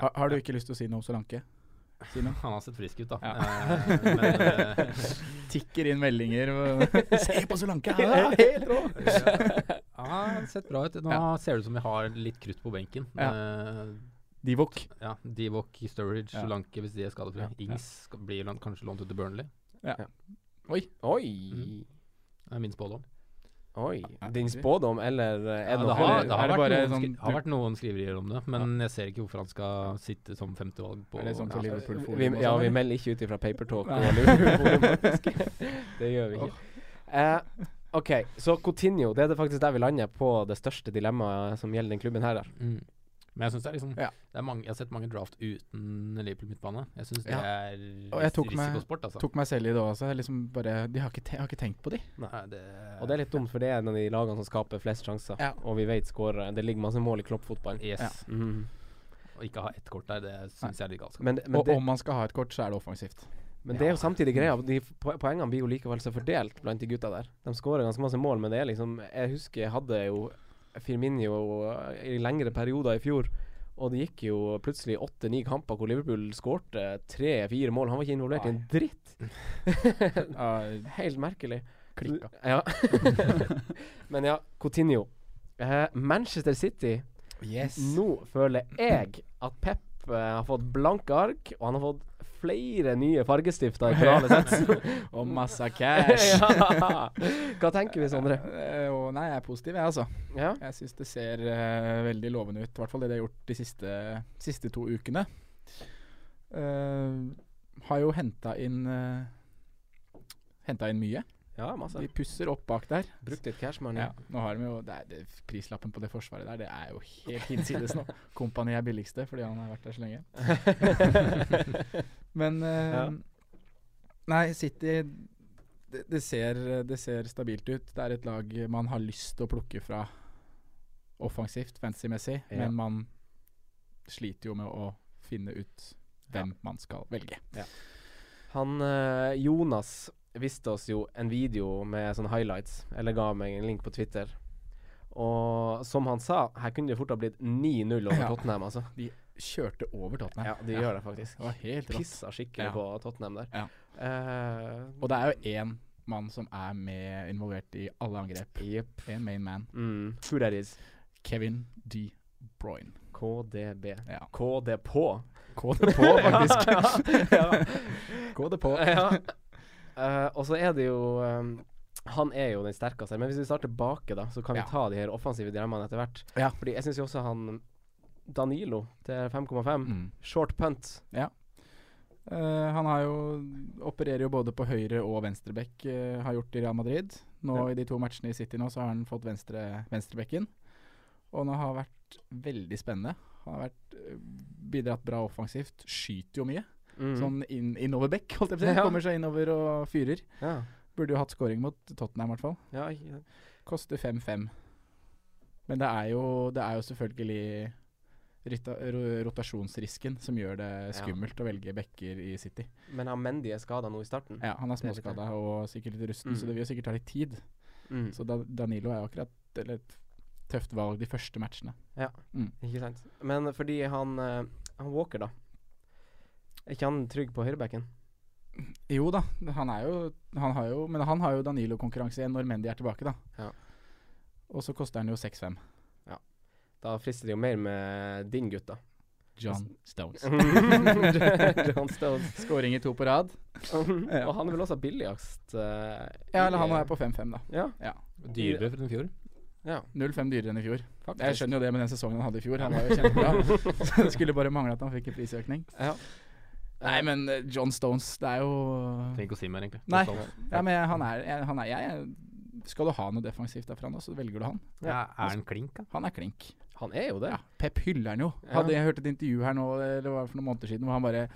E: Har, har du ikke lyst til å si noe om Solanke? Si noe.
D: Han har sett frisk ut, da.
E: Ja.
D: Eh, men eh,
E: Tikker inn meldinger og Se på Solanke! Ja!
C: Helt rå!
D: ja, han har sett bra ut. Nå
E: Ja.
D: ser det ut som vi har litt krutt på benken.
E: Ja.
D: Eh,
E: Divok.
D: ja, Divok, Sturridge,
E: Ja.
D: Solanke hvis de er skadefrie.
E: Ja.
D: Ings skal- blir lånt- kanskje lånt ut til Burnley.
C: Oi.
D: Mm. Det er min spådom.
C: Oi. Din spådom, eller eh, er det
D: Ja, det
C: noe
D: har,
E: eller
D: det har,
E: er det
D: vært,
E: bare
D: noen,
E: sånn-
D: skri- har vært noen skriverier om det, men jeg ser ikke hvorfor han skal sitte som femtevalg på
E: Er det sånn for
D: ja.
E: Liverpool Forum
C: vi,
E: og
C: Ja,
E: sånn,
C: vi
E: eller?
C: melder ikke ut ifra Papertalk
E: Nei.
C: og Liverpool, faktisk. Det gjør vi ikke. Eh, OK, så Coutinho. Det er det faktisk der vi lander på det største dilemmaet som gjelder den klubben her. da.
D: Mm. Men jeg synes det er liksom
E: Ja.
D: det er mange, Jeg har sett mange draft uten Liverpool midtbane. Jeg syns det
E: Ja.
D: er
E: Og jeg
D: ris-
E: tok meg-
D: risikosport, altså.
E: Tok meg selv i det også. Jeg Liksom bare, de har ikke, te jeg har ikke tenkt på de.
D: Nei, det,
C: Og det er litt dumt, for det er en av de lagene som skaper flest sjanser.
E: Ja.
C: Og vi vet skårer. Det ligger masse mål i kloppfotballen.
D: Yes.
E: Ja.
C: Mhm.
D: Å ikke ha ett kort der, det syns jeg er litt galskap.
C: Men, men,
E: og
C: det,
E: om man skal ha et kort, så er det offensivt.
C: men det er jo samtidig greia. De f- po- poengene blir jo likevel så fordelt blant de gutta der. De skårer ganske masse mål, men det er liksom Jeg husker jeg hadde jo Firminio i lengre perioder i fjor. Og det gikk jo plutselig åtte-ni kamper hvor Liverpool skårte tre-fire mål. Han var ikke involvert i en dritt.
E: Uh,
C: Helt merkelig.
E: Klikka.
C: Ja. Men ja, Coutinho. Eh, Manchester City.
E: yes.
C: Nå føler jeg at Pep eh, har fått blanke ark, og han har fått flere nye fargestifter i kranet sitt.
E: Og masse cash.
C: Ja. Hva tenker vi, Sondre?
E: Eh, og nei, jeg er positiv, jeg, altså.
C: Ja?
E: Jeg syns det ser eh, veldig lovende ut. I hvert fall det de har gjort de siste, siste to ukene. Eh, har jo henta inn uh, Henta inn mye.
C: ja,
E: De
C: masse.
E: pusser opp bak der.
C: Brukt litt cash, mann.
E: Ja. Nå har de jo det er, det, Prislappen på det forsvaret der, det er jo helt hinsides nå. Kompani er billigste fordi han har vært der så lenge. Men eh,
C: Ja.
E: Nei, City det, det, ser, det ser stabilt ut. Det er et lag man har lyst til å plukke fra offensivt, fantasy-messig,
C: Ja.
E: men man sliter jo med å finne ut hvem man skal velge.
C: Han eh, Jonas viste oss jo en video med sånne highlights, eller ga meg en link på Twitter. Og som han sa, her kunne det fort ha blitt 9-0 over
E: Ja.
C: Tottenham, altså.
E: De kjørte over Tottenham.
C: Ja, de gjør det faktisk.
E: Det var helt rått.
C: Pissa skikkelig
E: Ja.
C: på Tottenham der.
E: Ja.
C: Eh,
E: Og det er jo én mann som er med involvert i alle angrep.
C: Jepp.
E: En main man.
C: Mm. Who that is?
E: Kevin D. Bruyne.
C: KDB.
E: Ja.
C: KD på.
E: Gå det på, faktisk.
C: ja.
E: Gå det på.
C: ja. Eh, og så er det jo eh, Han er jo den sterkeste, men hvis vi starter bake, da, så kan
E: Ja.
C: vi ta de her offensive dilemmaene etter hvert.
E: Ja.
C: Fordi jeg syns jo også han Danilo til 5,5.
E: Mm.
C: Short punt.
E: Eh, han har jo, opererer jo både på høyre og venstreback, eh, har gjort i Real Madrid. Nå
C: Ja.
E: I de to matchene i City nå, så har han fått venstre, venstrebacken. Og han har vært veldig spennende. Han har vært, eh, bidratt bra offensivt, skyter jo mye.
C: Mm.
E: Sånn inn, innover bekk, holdt jeg på å si.
C: Ja.
E: Kommer seg innover og fyrer.
C: Ja.
E: Burde jo hatt scoring mot Tottenham i hvert fall.
C: Ja, ikke-
E: Koster 5-5. Men det er, jo, det er jo selvfølgelig rita, ro- rotasjonsrisken som gjør det skummelt å velge backer i City.
C: Men har Mendy er skada nå i starten?
E: Ja, Han er
C: Det er litt
E: småskada og sikkert litt rusten,
C: Mm.
E: så det vil jo sikkert ta litt tid.
C: Mm.
E: Så da, Danilo er jo akkurat eller et tøft valg de første matchene.
C: Ikke sant. Men fordi han, eh, han Walker, da. Er ikke han trygg på høyrebacken?
E: Jo da, han er jo, han har jo Men han har jo Danilo-konkurranse igjen når Mendy er tilbake, da.
C: Ja.
E: Og så koster han jo 6-5.
C: Da frister det jo mer med din gutt, da.
E: John Stones.
C: John Stones.
E: Skåring i to på rad.
C: Og han er vel også billigst eh,
E: Ja, eller
C: i-
E: han er på 5-5, da.
C: Ja.
D: Dyrere enn i fjor.
E: 0-5 dyrere enn i fjor.
C: Faktisk.
E: Jeg skjønner jo det med den sesongen han hadde i fjor. Han var jo kjempebra. Så det skulle bare mangle at han fikk en prisøkning.
C: Ja.
E: Nei, men eh, John Stones, det er jo
D: Trenger ikke å si mer, egentlig.
E: Nei.
D: Det er sånn.
E: Ja, men han er, jeg- han er jeg, Skal du ha noe defensivt derfra nå, så velger du han.
D: Ja, er han klink, da?
E: Han er klink.
C: Han er jo det.
E: Ja, Pep hyller han jo. Hadde jeg hørt et intervju her nå Eller var det for noen måneder siden hvor han bare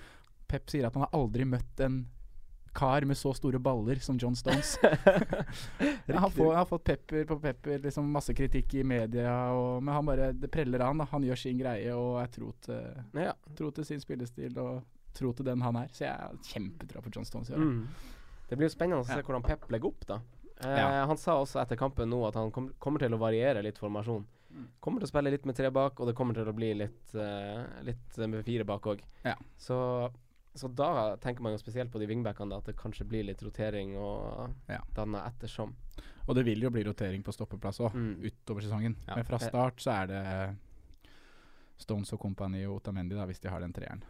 E: Pep sier at han har aldri møtt en kar med så store baller som John Stones. Ja, han, får, han har fått pepper på pepper, liksom masse kritikk i media, og, men han bare Det preller av han. da. Han gjør sin greie og er tro til,
C: Ja.
E: tro til sin spillestil og tro til den han er. Så jeg har kjempetroa på John Stones. i år.
C: Mm. Det blir jo spennende å se
E: Ja.
C: hvordan Pep legger opp, da. Eh,
E: Ja.
C: Han sa også etter kampen nå at han kom, kommer til å variere litt formasjon.
E: Mm.
C: Kommer til å spille litt med tre bak, og det kommer til å bli litt, eh, litt eh, med fire bak òg.
E: Ja.
C: Så, så da tenker man jo spesielt på de wingbackene, da, at det kanskje blir litt rotering og
E: Ja.
C: danne ettersom.
E: Og det vil jo bli rotering på stoppeplass òg,
C: Mm. Eh.
E: utover sesongen.
D: Ja.
E: Men fra start så er det Stones og Company og Otamendi, da, hvis de har den treeren.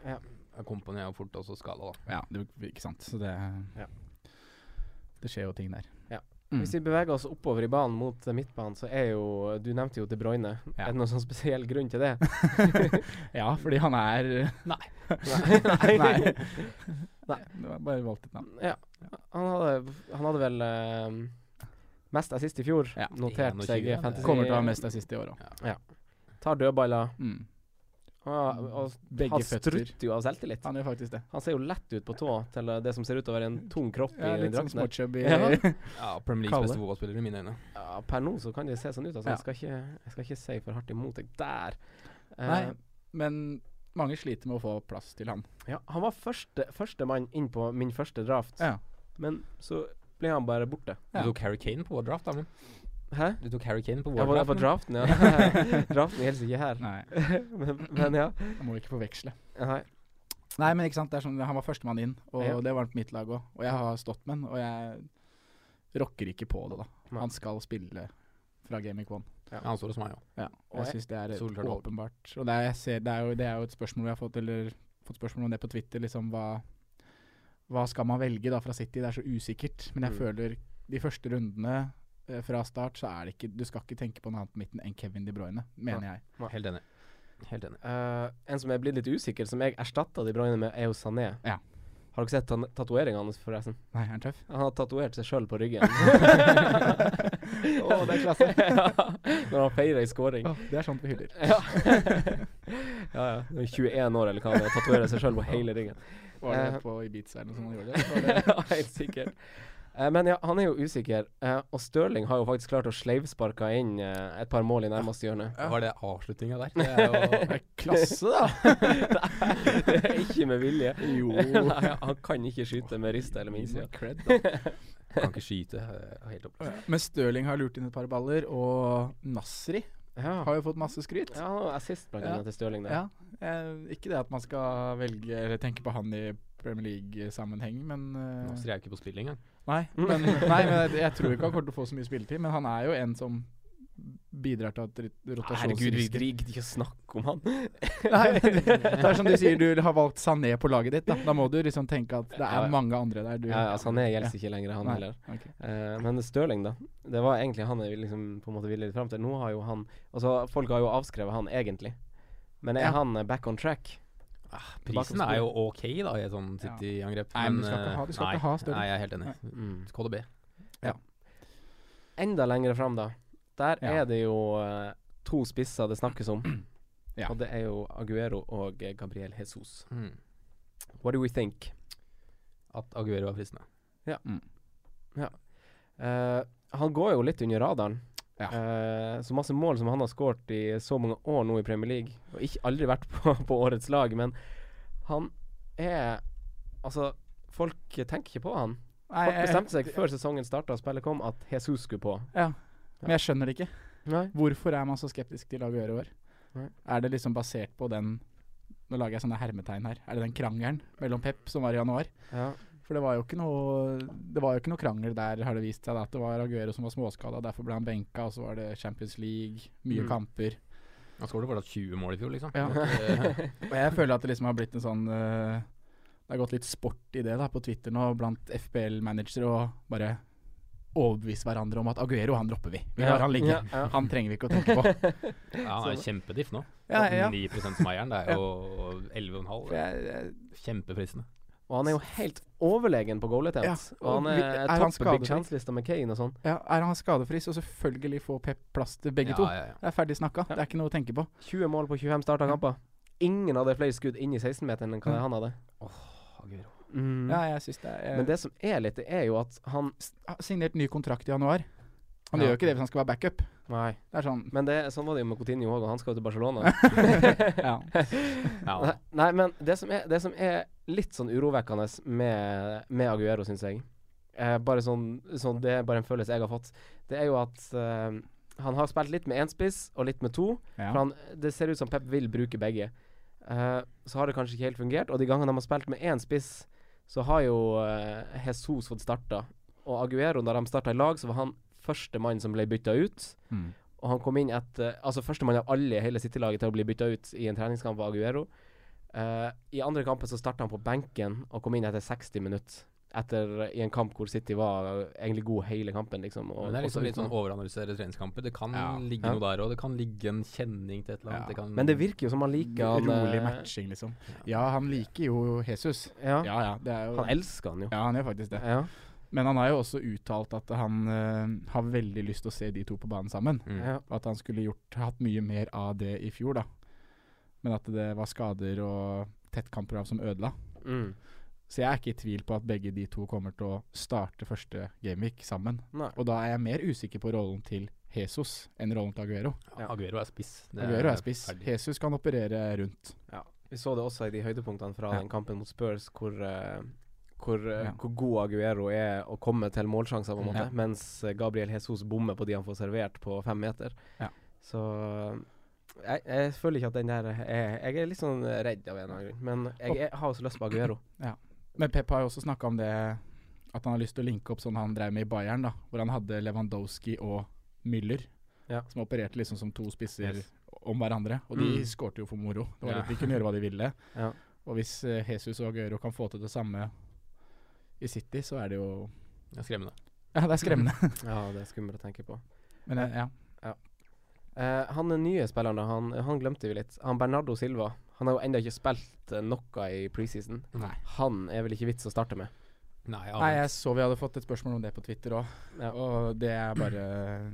D: Kompani er jo fort også skala, da.
E: Ja, det, ikke sant. Så det
C: Ja.
E: Det skjer jo ting der.
C: Ja.
E: Mm.
C: Hvis vi beveger oss oppover i banen mot eh, midtbanen, så er jo Du nevnte jo De Bruyne.
E: Ja.
C: Er det noen sånn spesiell grunn til det?
E: ja, fordi han er
C: Nei.
E: Nei.
C: Nei.
E: Det var bare valgt et navn.
C: Ja. Han hadde, han hadde vel eh, mest assist i fjor,
E: Ja.
C: notert seg
D: 21,
C: i
D: det
C: fantasy.
E: Kommer til å ha mest assist i år òg.
C: Tar dødballer.
E: Mm.
C: Og, og
E: Begge
C: han
E: føtter.
C: strutter jo av selvtillit.
E: Han gjør faktisk det.
C: Han ser jo lett ut på tå til eh, det som ser ut til å være en tung kropp
E: Ja,
C: i
E: litt sånn
C: drakten. der.
E: småchubby.
C: Ja.
D: Ja, Premier Leagues
E: Kalle.
D: beste fotballspiller i mine øyne.
C: Ja, per nå så kan det se sånn ut. Altså.
E: Ja.
C: Jeg, skal ikke, jeg skal ikke si for hardt imot deg der. Eh,
E: Nei, men mange sliter med å få plass til han.
C: ja, han var første førstemann inn på min første draft,
E: Ja.
C: men så ble han bare borte.
D: Du
E: Ja.
D: tok Harry Kane på vår draft, da. men.
C: Hæ?
D: Du tok Harry Kane på
C: Jeg
D: vår
C: var der
D: draft.
C: på draften, ja. draften hilser ikke her.
E: Nei,
C: men, men ja.
E: han må ikke forveksle.
C: Nei.
E: Nei, men ikke sant, det er sånn, han var førstemann inn, og
C: Ja.
E: det var han på mitt lag òg. Og jeg har stått med han, og jeg rocker ikke på det, da.
C: Nei.
E: Han skal spille fra Game of One.
D: Ja, han står hos meg òg.
E: Ja,
C: Og
E: jeg
C: jeg-
E: syns det er et
D: Solklart valg.
E: åpenbart. Og det er, jeg ser, det, er jo, det er jo et spørsmål vi har fått, eller fått spørsmål om det på Twitter, liksom hva, hva skal man velge da fra City? Det er så usikkert. Men jeg
C: Mm.
E: føler de første rundene eh, fra start, så er det ikke Du skal ikke tenke på noe annet på midten enn Kevin De Bruyne, mener jeg.
D: Helt enig. Helt enig.
C: Eh, en som er blitt litt usikker, som jeg erstatta De Bruyne med, er jo Sané.
E: Ja.
C: Har dere sett tan- tatoveringene hans, forresten?
E: Nei, er han tøff?
C: Han har tatovert seg sjøl på ryggen. Å,
E: det er klasse.
C: ja, når han feirer ei scoring.
E: det er sånt vi hyller.
C: Ja. ja, ja. Når han er 21 år, eller hva han er, tatoverer seg sjøl på hele ryggen.
E: Var det
C: Eh.
E: på Ibiza eller noe sånt han gjorde det? Var det?
C: Ja, Helt sikkert. Eh, men ja, han er jo usikker, eh, og Stirling har jo faktisk klart å sleivsparke inn eh, et par mål i nærmeste hjørne.
D: Var det avslutninga der? Det er jo
E: Det er Klasse, da!
C: Det er ikke med vilje.
E: Jo.
C: Nei, han kan ikke skyte med rista eller med innsida.
E: Cred, da.
D: Kan ikke skyte eh, helt opp.
E: Men Stirling har lurt inn et par baller, og Nasri
C: Ja.
E: har jo fått masse skryt.
C: Ja, han har assist blant annet
E: Ja.
C: til Stirling der.
E: Ja, eh, Ikke det at man skal velge eller tenke på han i Premier League-sammenheng, men eh,
D: Nasri er jo ikke på spill engang.
E: nei,
C: Mm.
E: men, nei, men jeg, jeg tror ikke han kommer til å få så mye spilletid, men han er jo en som bidrar til at rit- rotasjonsrisken
C: gidder ikke å snakke om han.
E: Nei, men Det det er som du sier, du har valgt Sané på laget ditt. Da, da må du liksom tenke at det
C: Ja,
E: er
C: ja.
E: mange andre der. Du,
C: Ja, altså han er gjelder ikke lenger, han
E: Nei.
C: heller.
E: Ok.
C: Eh, men Stirling, da. Det var egentlig han jeg liksom på en måte ville litt fram til. Nå har jo han Altså, folk har jo avskrevet han egentlig. Men er
E: Ja.
C: han eh, back on track?
D: Prisen er jo ok, da, i et sånn City-angrep.
E: Nei, men du skal ikke ha- du skal
D: eh,
E: ikke ha større.
D: Nei, jeg er helt enig.
C: Mm.
D: KDB.
C: Enda lenger fram, da. Der
E: Ja.
C: er det jo eh, to spisser det snakkes om.
E: Ja.
C: Og det er jo Aguero og eh, Gabriel Jesus.
D: Mm.
C: What do we think?
D: At Aguero er fristende.
C: Eh, han går jo litt under radaren.
E: Ja.
C: Eh, så masse mål som han har skåret i så mange år nå i Premier League, og ikke aldri vært på, på årets lag, men han er Altså, folk tenker ikke på han.
E: Nei, eh,
C: Folk
E: jeg-
C: bestemte seg før sesongen starta og spillet kom, at Jesus skulle på.
E: Ja. Men jeg skjønner det ikke.
C: Nei.
E: Hvorfor er man så skeptisk til Aguero i år?
C: Nei.
E: Er det liksom basert på den Nå lager jeg sånne hermetegn her. Er det den krangelen mellom Pep som var i januar?
C: Ja.
E: For det var jo ikke noe Det var jo ikke noe krangel der, har det vist seg. Da. At det var Aguero som var småskada, derfor ble han benka, og så var det Champions League, mye
C: Mm.
E: kamper.
D: Han skåret bare 20 mål i fjor, liksom.
E: Ja.
D: Eh,
E: Og jeg føler at det liksom har blitt en sånn eh, Det har gått litt sport i det da på Twitter nå blant FBL-managere å bare overbevise hverandre om at Aguero, han dropper vi. Vi lar han ligge.
C: Ja, ja.
E: Han trenger vi ikke å tenke på.
D: ja, han er kjempediff nå.
E: Ja, ja.
D: 9 som eieren, det er jo 11,5.
E: For jeg, jeg,
D: Kjempefristende.
C: Og han er jo helt overlegen på goalettent.
E: Ja,
C: Og han
E: og vi- er
C: er,
E: han
C: topp på
E: skadefri?
C: Big Chance-lista med Kane og sånn.
E: ja, er han skadefri, så selvfølgelig får Pep plass til begge
D: ja,
E: to.
D: Ja, ja.
E: Det er ferdig snakka.
C: Ja.
E: Det er ikke noe å tenke på.
C: 20 mål på 25 starta kamper. Ingen hadde flere skudd inn i 16-meteren enn hva
E: Ja.
C: han hadde.
D: Aguero.
C: Mm.
E: Mm. Ja, jeg synes det er
C: Men det som er litt, det er jo at han
E: har signert ny kontrakt i januar. Han
C: Ja.
E: gjør jo ikke det hvis han skal være backup.
C: Nei.
E: Det er sånn
C: Men det, sånn var det jo med Coutinho òg, og han skal jo til Barcelona.
E: ja.
D: Ja,
C: Nei, Nei, men det som, er, det som er litt sånn urovekkende med, med Aguero, syns jeg eh, Bare sånn, sånn Det er bare en følelse jeg har fått. Det er jo at eh, han har spilt litt med én spiss og litt med to. For
E: ja.
C: han, det ser ut som Pep vil bruke begge. Eh, så har det kanskje ikke helt fungert. Og de gangene de har spilt med én spiss, så har jo eh, Jesus fått starta. Og Aguero, da de starta i lag, så var han første mann som ble bytta ut.
E: Mm.
C: Og han kom inn etter Altså førstemann av alle i hele City-laget til å bli bytta ut i en treningskamp av Aguero. Eh, I andre kampen så starta han på benken og kom inn etter 60 minutter. Etter, I en kamp hvor City var eh, egentlig god hele kampen, liksom. Og,
D: Men det er liksom
C: og så
D: litt sånn
C: utenom.
D: overanalysere treningskamper. Det kan
E: Ja.
D: ligge
C: Ja.
D: noe der òg. Det kan ligge en kjenning til et eller annet.
E: Ja.
D: Det kan,
C: men det virker jo som han liker han
E: Rolig
C: eh,
E: matching, liksom. Ja, han liker jo Jesus.
C: Ja.
E: Ja, ja. Det er jo
C: Han elsker han jo.
E: Ja, han gjør faktisk det.
C: Ja.
E: Men han har jo også uttalt at han eh, har veldig lyst til å se de to på banen sammen.
D: Mm.
C: Ja.
E: Og at han skulle gjort, hatt mye mer av det i fjor, da. Men at det var skader og tettkamper av som ødela.
C: Mm.
E: Så jeg er ikke i tvil på at begge de to kommer til å starte første gameweek sammen.
C: Nei.
E: Og da er jeg mer usikker på rollen til Jesus enn rollen til Aguero.
D: Ja, Aguero er spiss. Det
E: Aguero er spiss.
D: ferdig.
E: Jesus kan operere rundt.
C: Vi så det også i de høydepunktene fra
E: Ja.
C: den kampen mot Spurs, hvor, eh, hvor, eh,
E: Ja.
C: hvor god Aguero er å komme til målsjanser, på en måte,
E: Ja.
C: mens eh, Gabriel Jesus bommer på de han får servert på fem meter.
E: Ja.
C: Så eh, jeg, jeg føler ikke at den der er Jeg er litt sånn redd av en eller annen grunn, men jeg, er- har også lyst på Aguero.
E: Men Pep har jo også snakka om det at han har lyst til å linke opp sånn han drev med i Bayern, da, hvor han hadde Lewandowski og Müller,
C: Ja.
E: som opererte liksom som to spisser
D: Yes.
E: om hverandre. Og de
C: Mm.
E: skårte jo for moro. Det var
D: Ja.
E: litt, De kunne gjøre hva de ville.
C: Ja.
E: Og hvis eh, Jesus og Aguero kan få til det samme i City, så er det jo
D: Det er skremmende.
E: Ja, det er skremmende.
C: Ja, det er skummelt å tenke på.
E: Men eh, ja.
C: Eh, han er nye spilleren, da, han, han glemte vi litt. Han Bernardo Silva. Han har jo ennå ikke spilt eh, noe i preseason.
D: Nei.
C: Han er vel ikke vits å starte med.
D: Nei,
E: Nei, jeg så vi hadde fått et spørsmål om det på Twitter òg,
C: Ja.
E: og det er bare eh,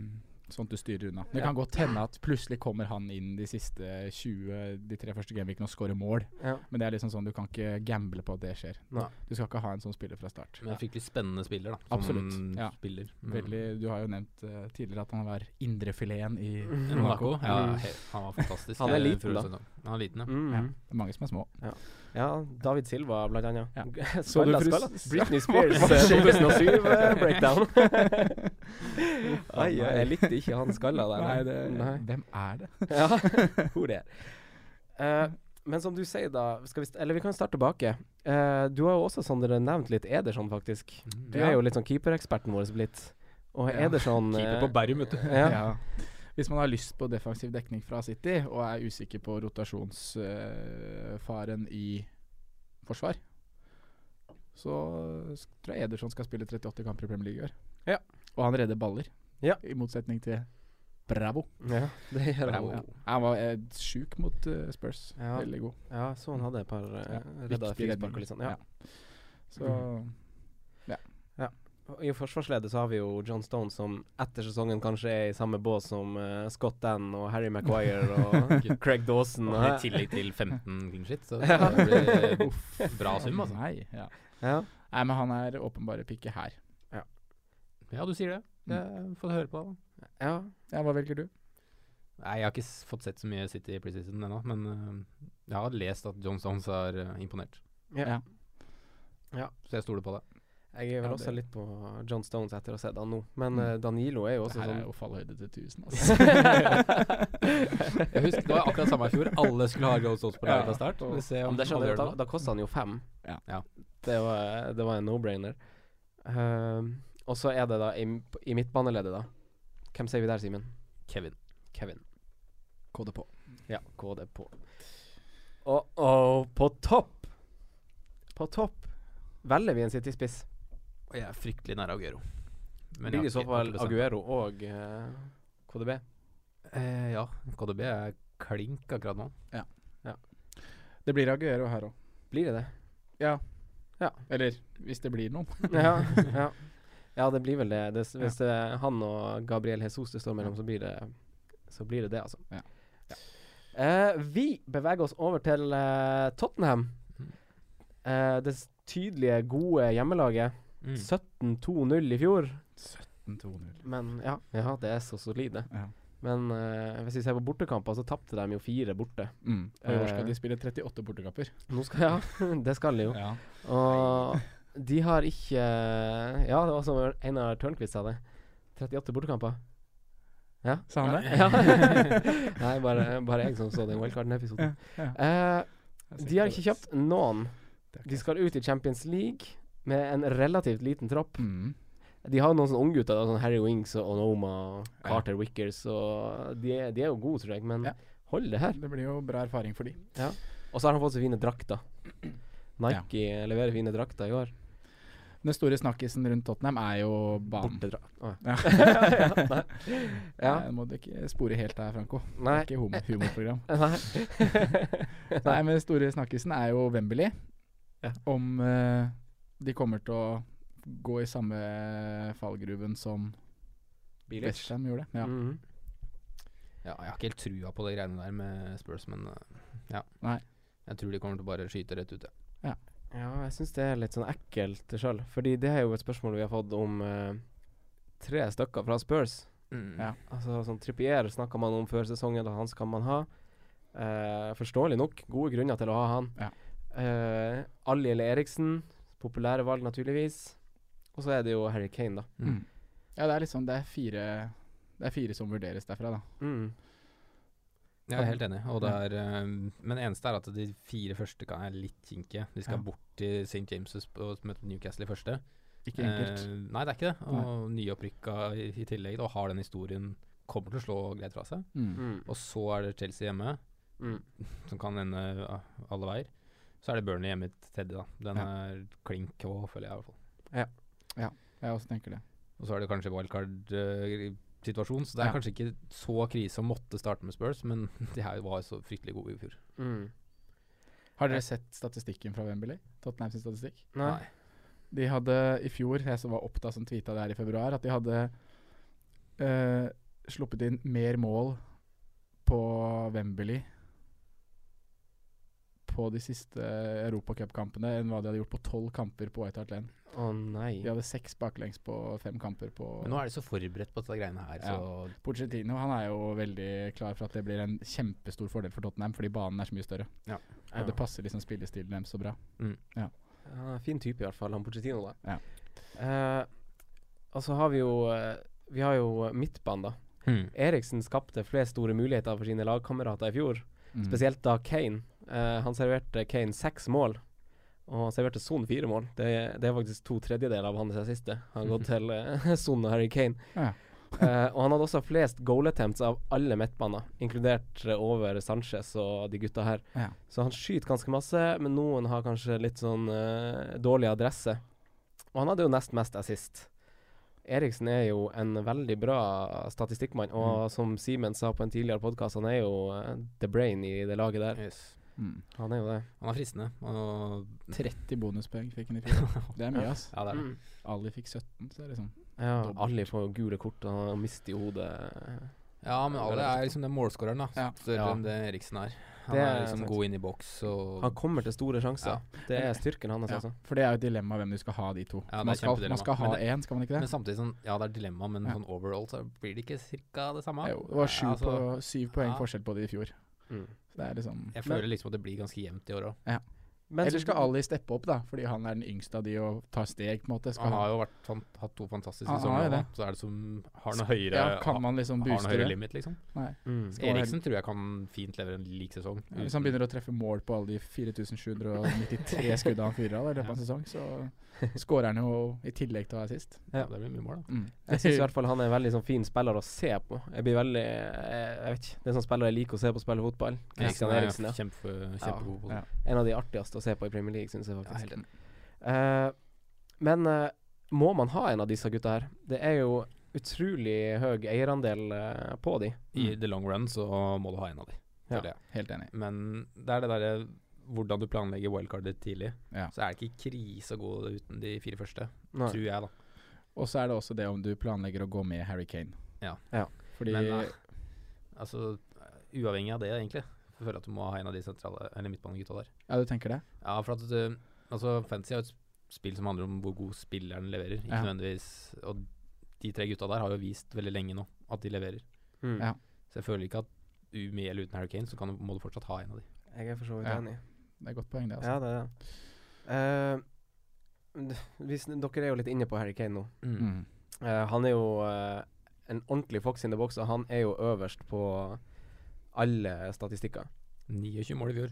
E: sånt du styrer unna. Det
C: Ja.
E: kan godt hende at plutselig kommer han inn de siste 20, de tre første gameweekene og scorer mål,
C: Ja.
E: men det er liksom sånn du kan ikke gamble på at det skjer.
C: Nei.
E: Du skal ikke ha en sånn spiller fra start.
D: Men en fryktelig spennende spiller, da.
E: Absolutt, ja.
D: spiller. Mm.
E: Veldig, du har jo nevnt eh, tidligere at han var indrefileten i
D: Monaco. Ja,
C: Mm.
D: he, han var fantastisk.
C: Han er
D: eh,
C: liten,
D: forrige
C: da.
D: sesong. Han er liten, ja.
C: Mm.
E: Ja. Det er mange som er små.
C: Ja, David Silva blant annet.
E: Ja. Så du
C: Spiller,
E: frus-
C: spiller. Britney Spears eh,
E: Hva skjer?
C: 2007-breakdown. Ai, jeg likte ikke han skalla der.
E: Nei, det,
C: Nei.
E: Hvem er det?
C: Ja, hvor det er. Eh, men som du sier, da skal vi st Eller vi kan starte tilbake. Eh, du har jo også, Sondre, nevnt litt Ederson, faktisk.
D: Mm.
C: Du
E: Ja.
C: er jo litt sånn keepereksperten vår blitt. Og
E: Ja.
C: Ederson
D: Keeper på Berrum, vet du.
C: eh, ja.
E: Ja. Hvis man har lyst på defensiv dekning fra City, og er usikker på rotasjonsfaren eh, i forsvar, så s- tror jeg Ederson skal spille 38 kamper i Premier League i år.
C: Ja.
E: Og han redder baller,
C: Ja.
E: i motsetning til Bravo.
C: ja, det gjør han.
D: Bravo.
E: Ja. Han var eh, sjuk mot eh, Spurs.
C: Ja.
E: Veldig god.
C: Ja, så han hadde et par uh,
E: Ja,
C: redda
E: viktig
C: frispark og
E: redning.
C: litt sånn. Ja.
E: Ja. Så
C: I forsvarsledet så har vi jo John Stone, som etter sesongen kanskje er i samme bås som eh, Scott Dan og Harry Maguire og Craig Dawson.
D: Og
C: Og,
D: I tillegg til 15 clean shit, så det
C: Ja.
D: blir bra sum, altså.
E: Nei, ja.
C: ja.
E: Nei, men han er åpenbare pikke her.
D: Ja, du sier det. Jeg får høre på det.
C: Ja.
E: Ja, hva velger du?
D: Nei, jeg har ikke s- fått sett så mye City i preseason ennå, men eh, jeg har lest at John Stones er eh, imponert.
C: Ja.
E: Ja.
C: Ja.
D: Så jeg stoler på det.
C: Jeg er
E: Ja,
C: vel
E: det-
C: også litt på John Stones etter å ha sett han nå, men
E: Mm.
C: eh, Danilo er jo
E: Det
C: også
E: her er
C: sånn
E: jo fallhøyde til 1000, altså.
D: Jeg husker, Det var akkurat samme i fjor. Alle skulle ha John Stones på
E: Ja.
D: laget fra start.
E: Og-
D: Vi ser
C: Ja,
D: om
C: men det skjønner
D: alle
C: jeg,
D: gjør
C: da,
D: det nå.
C: da kosta han jo fem.
E: Ja.
D: Ja.
C: Det, var, eh, det var en no-brainer. Ehm, og så er det da i, i midtbaneleddet, da. Hvem sier vi der, Simen?
D: Kevin.
C: Kevin.
E: KD på.
C: Ja, KD på. Og og på topp På topp velger vi en City-spiss.
D: Og jeg er fryktelig nær Aguero. Men jeg
C: Blir
D: har
C: i så
D: ikke- har
C: fall
D: ikke bestemt meg.
C: Aguero og eh, KDB.
D: Eh, ja, KDB er klink akkurat nå.
E: Det blir Aguero her òg.
C: Blir det det?
E: Ja.
C: Ja.
E: Eller hvis det blir noen.
C: ja, ja. ja, det blir vel det. det s- hvis det er han og Gabriel Jesus det står mellom, så blir det Så blir det det, altså.
E: Ja.
C: Eh, vi beveger oss over til eh, Tottenham.
D: Mhm.
C: Eh, det s- tydelige, gode hjemmelaget.
D: Mm.
C: 17-2-0 i fjor.
E: 2-0.
C: Men ja, ja, det er så solide.
E: Ja.
C: Men eh, hvis vi ser på bortekamper, så tapte de jo fire borte.
E: Mm. Og i år skal
C: Eh.
E: de spille 38 bortekamper.
C: Nå skal Ja, det skal de jo.
E: Ja.
C: Og de har ikke Ja, det var som Einar Tørnquist sa det. 38 bortekamper. Ja.
E: Sa han det?
C: Ja. Nei, bare, bare jeg som så den wildcarden-episoden.
E: Ja,
C: Eh, de har ikke kjøpt noen. De skal ut i Champions League med en relativt liten tropp.
E: mm.
C: De har jo noen sånne unggutter, da, sånn Harry Wings og Onoma og Carter Wickers, og de er, de er jo gode, tror jeg, men
E: Ja.
C: hold det her.
E: Det blir jo bra erfaring for de.
C: Og så har de fått så fine drakter. Nike leverer fine drakter i år.
E: Den store snakkisen rundt Tottenham er jo banen.
C: Bortedra... Å,
E: Ja.
C: ja. Nei. ja.
E: Nei, Må du ikke spore helt der, Franco. Det
C: Nei.
E: er ikke homo humorprogram.
C: Nei.
E: Nei, men den store snakkisen er jo Wembley.
C: Ja.
E: Om eh, de kommer til å gå i samme fallgruven som Westham gjorde. Ja.
C: Mhm.
D: Ja, jeg har ikke helt trua på de greiene der med Spurs, men eh, ja.
E: Nei.
D: Jeg tror de kommer til å bare skyte rett ut, ja.
C: Ja, jeg syns det er litt sånn ekkelt sjøl. Fordi det er jo et spørsmål vi har fått om eh, tre stykker fra Spurs.
E: Mm,
D: Mm.
E: Ja.
C: Altså sånn Trippier snakka man om før sesongen, og han skal man ha. Eh, forståelig nok, gode grunner til å ha han.
E: Ja.
C: Eh, Ali eller Eriksen, populære valg naturligvis. Og så er det jo Harry Kane, da.
E: Mm. ja, det er liksom Det er fire Det er fire som vurderes derfra, da.
C: Mm.
D: Jeg er helt enig. Og det er, eh, men det eneste er at de fire første kan er litt kinkige. De skal
E: Ja.
D: bort til St. James' og møte Newcastle i første.
E: Ikke enkelt.
D: Eh, nei, det er ikke det. Og nyopprykka i, i tillegg, da, og har den historien. Kommer til å slå greit fra seg.
E: Mm.
C: Mm.
D: Og så er det Chelsea hjemme,
C: Mm.
D: som kan ende eh, alle veier. Så er det Burnley hjemme til tredje, da. Den er klink og føler jeg, i hvert fall.
E: Jeg også tenker det.
D: Og så er det kanskje wildcard-situasjon, så det er
E: Ja.
D: kanskje ikke så krise å måtte starte med Spurs, men de her var så fryktelig gode i fjor.
C: Mm.
E: Har dere sett statistikken fra Wembley? Tottenham sin statistikk?
C: Nei.
E: De hadde i fjor, jeg som var opptatt som tweeta det her i februar, at de hadde eh, sluppet inn mer mål på Wembley på de siste europacupkampene enn hva de hadde gjort på tolv kamper på White Hart Lane.
C: Å nei.
E: De hadde seks baklengs på fem kamper på
D: Men nå er de så forberedt på disse greiene her,
E: Ja.
D: så
E: Pochettino han er jo veldig klar for at det blir en kjempestor fordel for Tottenham, fordi banen er så mye større.
C: Ja.
E: Og det passer liksom spillestilen deres så bra.
C: Han er en fin type i hvert fall, han Pochettino da.
E: Ja.
C: Eh, og så har vi jo eh, Vi har jo midtbanen, da.
D: Hmm.
C: Eriksen skapte flest store muligheter for sine lagkamerater i fjor.
E: Mm.
C: Spesielt da Kane. Eh, han serverte Kane seks mål, og han serverte Son fire mål. Det, det er faktisk to tredjedeler av hans siste. Han har gått til eh, Son og Harry Kane.
E: Ja.
C: Eh, og han hadde også flest goal attempts av alle midtbaner, inkludert eh, over Sanchez og de gutta her.
E: Ja.
C: Så han skyter ganske masse, men noen har kanskje litt sånn eh, dårlig adresse. Og han hadde jo nest mest assist. Eriksen er jo en veldig bra statistikkmann, og
E: Mm.
C: som Simen sa på en tidligere podkast, han er jo eh, the brain i det laget der.
D: yes.
E: Mm.
C: Han er jo det.
D: Han er fristende. Og
E: 30 bonuspoeng fikk han i fjor. Det er mye, ass.
D: ja, det er det.
E: Ali fikk 17, så er det sånn.
C: Ja,
E: Dobbelt.
C: Ali får jo gule kort, og han mister jo hodet.
D: Ja, men alle er liksom den målskåreren, da.
E: Ja.
D: Større
C: Ja.
D: enn det Eriksen er. Han
C: Det
D: er
C: er
D: liksom
C: sant.
D: god inn i boks og
C: Han kommer til store sjanser.
D: Ja.
C: Det er styrken hans,
E: Ja,
C: altså.
E: for det er jo et dilemma hvem du skal ha, de to.
D: Ja, det er
E: man, skal,
D: kjempedilemma.
E: man skal ha
D: Men
E: én, skal man ikke
D: Men
E: det?
D: samtidig sånn Ja, det er dilemma, men
E: Ja.
D: sånn overall så blir det ikke cirka det samme.
E: Det er jo- det var sju,
D: Ja, altså,
E: på, syv poeng
D: ja.
E: forskjell på det i fjor.
C: Mm.
E: Så det er liksom
D: Jeg føler liksom at det blir ganske jevnt i år òg.
C: Men
E: Eller skal Ali steppe opp, da, fordi han er den yngste av de og tar steg, på en måte? Skal
D: Han har
E: han,
D: jo vært, han, hatt to fantastiske
E: Han har
D: sesonger
E: jo
D: nå.
E: det.
D: Så er det som har noe høyere
E: ja, kan man liksom
D: har noe
E: booste
D: høyere
E: det?
D: limit, liksom.
E: Nei.
C: mm.
E: Skal man ha-
D: Eriksen tror jeg kan fint levere en lik sesong.
E: Ja, Hvis han begynner å treffe mål på alle de 4793 skuddene han fyrer av da i løpet av en sesong, så scorer han jo i tillegg til å være sist.
D: ja, Det blir mye mål, da.
E: Mm.
C: Jeg syns i hvert fall han er en veldig sånn, fin spiller å se på. Jeg blir veldig Jeg, jeg vet ikke. Det er en sånn spiller jeg liker å se på å spille fotball. Christian
D: er
C: Eriksen, ja.
D: Kjempe, kjempegod på det.
E: Ja.
C: En av de artigste å se på i Premier League, syns jeg
D: Ja,
C: faktisk.
D: helt enig.
C: Eh, men eh, må man ha en av disse gutta her? Det er jo utrolig høy eierandel eh, på de.
D: I the long run så må du ha en av de,
C: Ja.
D: føler jeg.
E: Helt enig.
D: Men det er det derre hvordan du planlegger wildcardet tidlig.
E: Ja.
D: Så er det ikke krise å gå uten de fire første,
C: Nei.
D: tror jeg, da.
E: Og så er det også det om du planlegger å gå med Harry Kane.
D: Ja.
C: Ja.
E: Fordi
D: Men eh, altså, uavhengig av det, egentlig, så føler jeg at du må ha en av de sentrale, eller midtbanegutta der.
E: Ja, du tenker det?
D: Ja, for at eh, altså, Fantasy er jo et spill som handler om hvor god spilleren leverer. Ikke
E: Ja.
D: nødvendigvis Og de tre gutta der har jo vist veldig lenge nå at de leverer.
C: Mm.
E: Ja.
D: Så jeg føler ikke at u- med eller uten Harry Kane, så kan du, må du fortsatt ha en av de.
C: Jeg er for så vidt
E: Ja.
C: enig.
E: Det er et godt poeng, det. altså.
C: Ja, det er det. Eh, d- hvis, dere er jo litt inne på Harry Kane nå.
E: Mm.
C: Eh, han er jo eh, en ordentlig fox in the box, og han er jo øverst på alle statistikker.
D: 29 mål i fjor.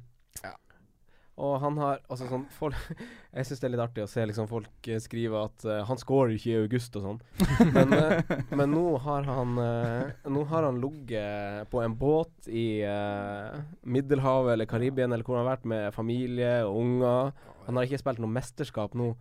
C: Og han har altså sånn folk, Jeg syns det er litt artig å se liksom folk eh, skrive at eh, han scorer ikke i august og sånn. Men, eh, men nå har han eh, Nå har han ligget på en båt i eh, Middelhavet eller Karibien eller hvor han har vært med familie og unger. Han har ikke spilt noe mesterskap nå.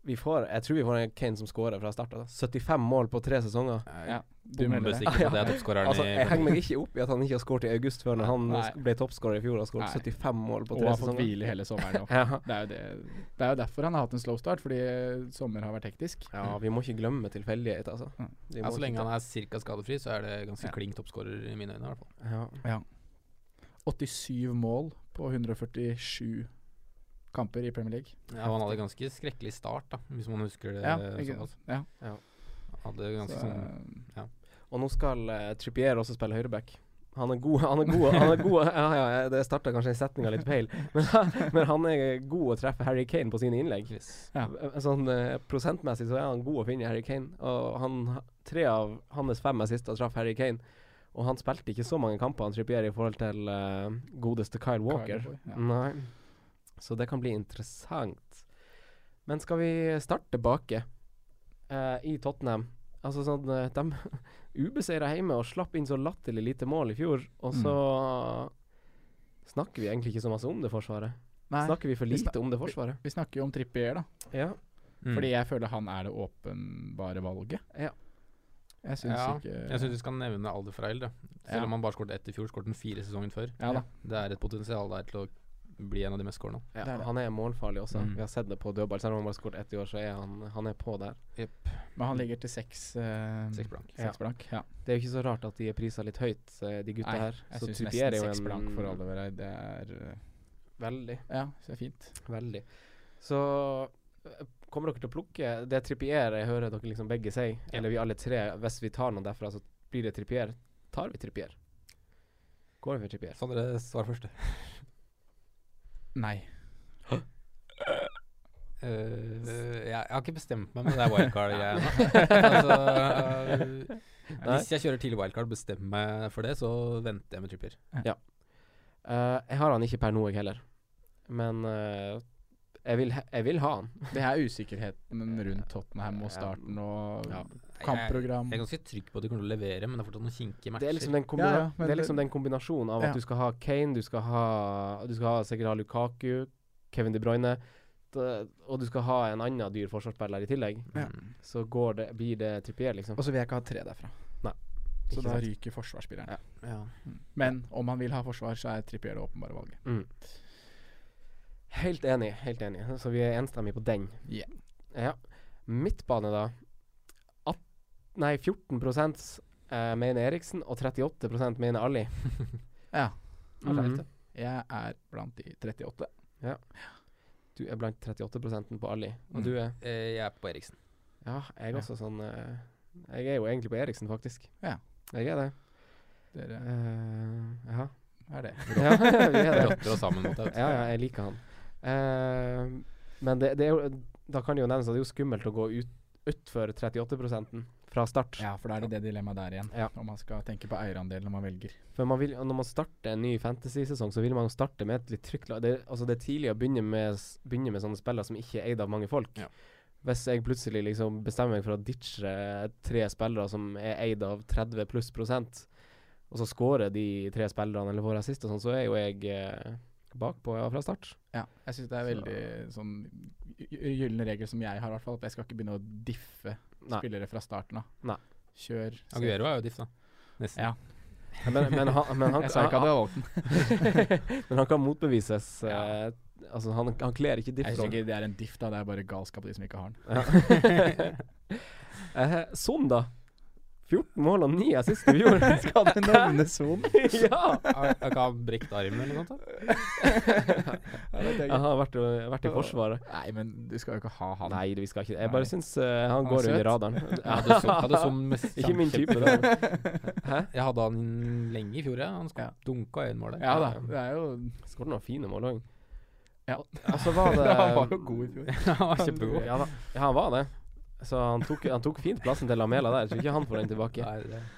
C: Vi får, jeg tror vi får en Kane som scorer fra start. altså. 75 mål på tre sesonger.
E: Ja, du mener det.
D: Bombesikker på at det er toppskåreren
C: Altså, jeg henger
D: i
C: meg ikke opp i at han ikke har skåret i august før når han
E: Nei.
C: ble toppskårer i fjor og skåret
E: Nei.
C: 75 mål på
E: Og
C: tre
E: har fått
C: sesonger.
E: hvile hele sommeren. nå.
C: Ja.
E: Det er, jo det, det er jo derfor han har hatt en slow start, fordi eh, sommer har vært hektisk.
C: ja, vi må ikke glemme tilfeldighet, altså.
E: Mm.
C: Vi
D: ja,
C: må
D: Så
C: ikke
D: lenge
C: ta-
D: han er cirka skadefri, så er det ganske
E: Ja.
D: klink toppskårer i mine øyne. i hvert fall
C: ja.
E: 87 mål på 147 kamper i Premier League.
D: ja, og Han hadde ganske skrekkelig start, da hvis man husker det.
E: Ja, ikke
D: såpass.
E: sant? Ja.
D: Hadde ganske
E: Så, eh,
D: sånn
C: Og nå skal eh, Trippier også spille høyreback. Han er god, han er god, han er god Ja, ja, ja, det starta kanskje setninga litt feil, men, men han er god å treffe Harry Kane på sine innlegg.
D: Yes.
E: Ja.
C: Sånn eh, prosentmessig så er han god å finne Harry Kane, og han tre av hans fem assister traff Harry Kane. Og han spilte ikke så mange kamper han Trippier i forhold til eh, godeste Kyle Walker. Mm.
E: Cowboy, ja.
C: Nei. Så det kan bli interessant. Men skal vi starte baki eh, i Tottenham? Altså sånn eh, De ubeseira hjemme og slapp inn så latterlig lite mål i fjor, og så snakker vi egentlig ikke så masse om det forsvaret.
E: Nei,
C: Snakker vi for
E: vi
C: lite
E: snak-
C: om det forsvaret?
E: vi snakker jo om Trippier, da.
C: Ja.
D: Mm.
E: Fordi jeg føler han er det åpenbare valget.
C: Ja.
E: Jeg syns
D: ja,
E: ikke
D: mm. Jeg syns du skal nevne Alder Freil. da. Selv
E: Ja.
D: om han bare skåret ett i fjor, skåret han fire sesongen før.
E: Ja da.
D: Det er et potensial der til å bli en av de mest skårende.
C: ja.
E: Det er det.
C: Han er målfarlig også.
D: Mm.
C: Vi har sett det på dødball. Selv om han bare har skåret ett i år, så er han, han er på der.
E: Men han ligger til seks eh,
D: Seks blank.
E: seks blank, ja.
C: Det er jo ikke så rart at de er prisa litt høyt, eh, de gutta
E: Nei,
C: her.
E: Jeg
C: Så
E: syns
C: Trippier er jo
E: nesten seks
C: en-
E: blank for Oliver Eid. Det er eh,
C: Veldig.
E: Ja, så det er fint.
C: Veldig. Så eh, kommer dere til å plukke Det Trippier jeg hører dere liksom begge si, eller vi alle tre, hvis vi tar noen derfra, så blir det Trippier. Tar vi Trippier? Går vi for Trippier?
D: Sondre, svar først.
E: Nei.
D: Eh, jeg, jeg har ikke bestemt meg med det wildcard-greiene. altså, eh, hvis jeg kjører tidlig wildcard og bestemmer meg for det, så venter jeg med tripper.
C: Eh, jeg har han ikke per nå, jeg heller. Men eh, jeg, vil, he- jeg vil ha han.
E: Det er usikkerheten rundt Tottenham og starten og
C: Ja.
E: kampprogram.
D: Jeg er ganske trygg på at de kommer til å levere, men det er fortsatt noen kinkige matcher.
C: Det er liksom den, kombina
E: Ja, ja,
C: det
E: men
C: er
E: det-
C: liksom den kombinasjonen av at
E: Ja.
C: du skal ha Kane, du skal ha, du skal ha sikkert ha Lukaku, Kevin De Bruyne, d- og du skal ha en annen dyr forsvarsspiller i tillegg.
E: ja.
D: Mm.
C: Så går det, blir det Trippier, liksom.
E: Og så vil jeg ikke ha tre derfra.
C: Nei.
E: Så
C: Ikke
E: da
C: sant.
E: ryker forsvarsspilleren.
C: Ja.
D: Ja.
E: Men om han vil ha forsvar, så er Trippier det åpenbare valget.
C: Mm. Helt enig, helt enig. Så vi er enstemmige på den.
E: Ja.
C: Ja. Midtbane, da. At, nei, 14 eh, mener Eriksen, og 38 mener Ali.
E: Ja.
D: Det er flaut,
C: Mhm.
D: det.
E: Jeg er blant de 38.
C: Du er blant 38 på Ali, og
E: Mm.
C: du er
D: Eh, Jeg er på Eriksen.
C: Ja, jeg er
E: Ja.
C: også sånn eh, Jeg er jo egentlig på Eriksen, faktisk.
E: Ja.
C: Jeg er det.
E: Dere
C: Eh, ja.
E: er det.
C: ja, vi er det.
D: Rotter oss sammen mot det.
C: Ja, ja, jeg liker han. Eh, men det, det er jo Da kan det jo nevnes at det er jo skummelt å gå ut utfor 38 fra start.
E: Ja, for da er det det dilemmaet der igjen.
C: Ja.
E: Om man skal tenke på eierandel når man velger.
C: For man vil, når man starter en ny fantasy-sesong, så vil man jo starte med et litt trygt lag. Det, altså det er tidlig å begynne med, s- begynne med sånne spillere som ikke er eid av mange folk.
D: Ja.
C: Hvis jeg plutselig liksom bestemmer meg for å ditche tre spillere som er eid av 30 pluss prosent, og så scorer de tre spillerne eller får assist og sånn, så er jo jeg eh, bakpå ja, fra start.
E: Ja, jeg syns det er
C: Så-
E: veldig sånn gy- gyllen regel som jeg har, i hvert fall. At jeg skal ikke begynne å diffe
C: Nei.
E: spillere fra starten av.
C: Nei.
E: Kjør.
D: Aguero er jo diff, da. Nesten.
E: Ja.
C: Men, men, han, men, han,
E: Jeg sa ikke at jeg hadde valgt den.
C: men han kan motbevises.
E: Ja.
C: eh, altså, han, han kler ikke
E: Jeg
C: diff.
E: syns ikke det er en diff, da. Det er bare galskap av de som ikke har den.
C: Eh, sånn, da. 14 mål og 9 assist i fjor.
E: Skal du nevne Son?
C: ja!
D: Har har ikke han brekt armen eller noe sånt? da?
C: Han har vært, vært i Forsvaret.
E: Nei, men du skal jo ikke ha han.
C: Nei, vi skal ikke det. Jeg
E: Nei.
C: bare syns eh,
E: Han
C: han
E: er
C: går
E: søt.
C: under radaren.
D: Hadde som, hadde som mest
C: Ikke min type,
D: kjempe-
C: det. Hæ?
D: Jeg hadde han lenge i fjor, ja. Han
E: Ja.
D: ja. dunka øyenmålet.
E: Ja da, det er jo
C: Skåret noen fine mål òg.
E: Ja.
C: Og så var det
E: Han var jo god i fjor.
D: Han var kjempegod.
C: Ja, da. ja, han var det. Så han tok, han tok fint plassen til Lamela der. Jeg tror ikke han får den tilbake.
D: Nei, det-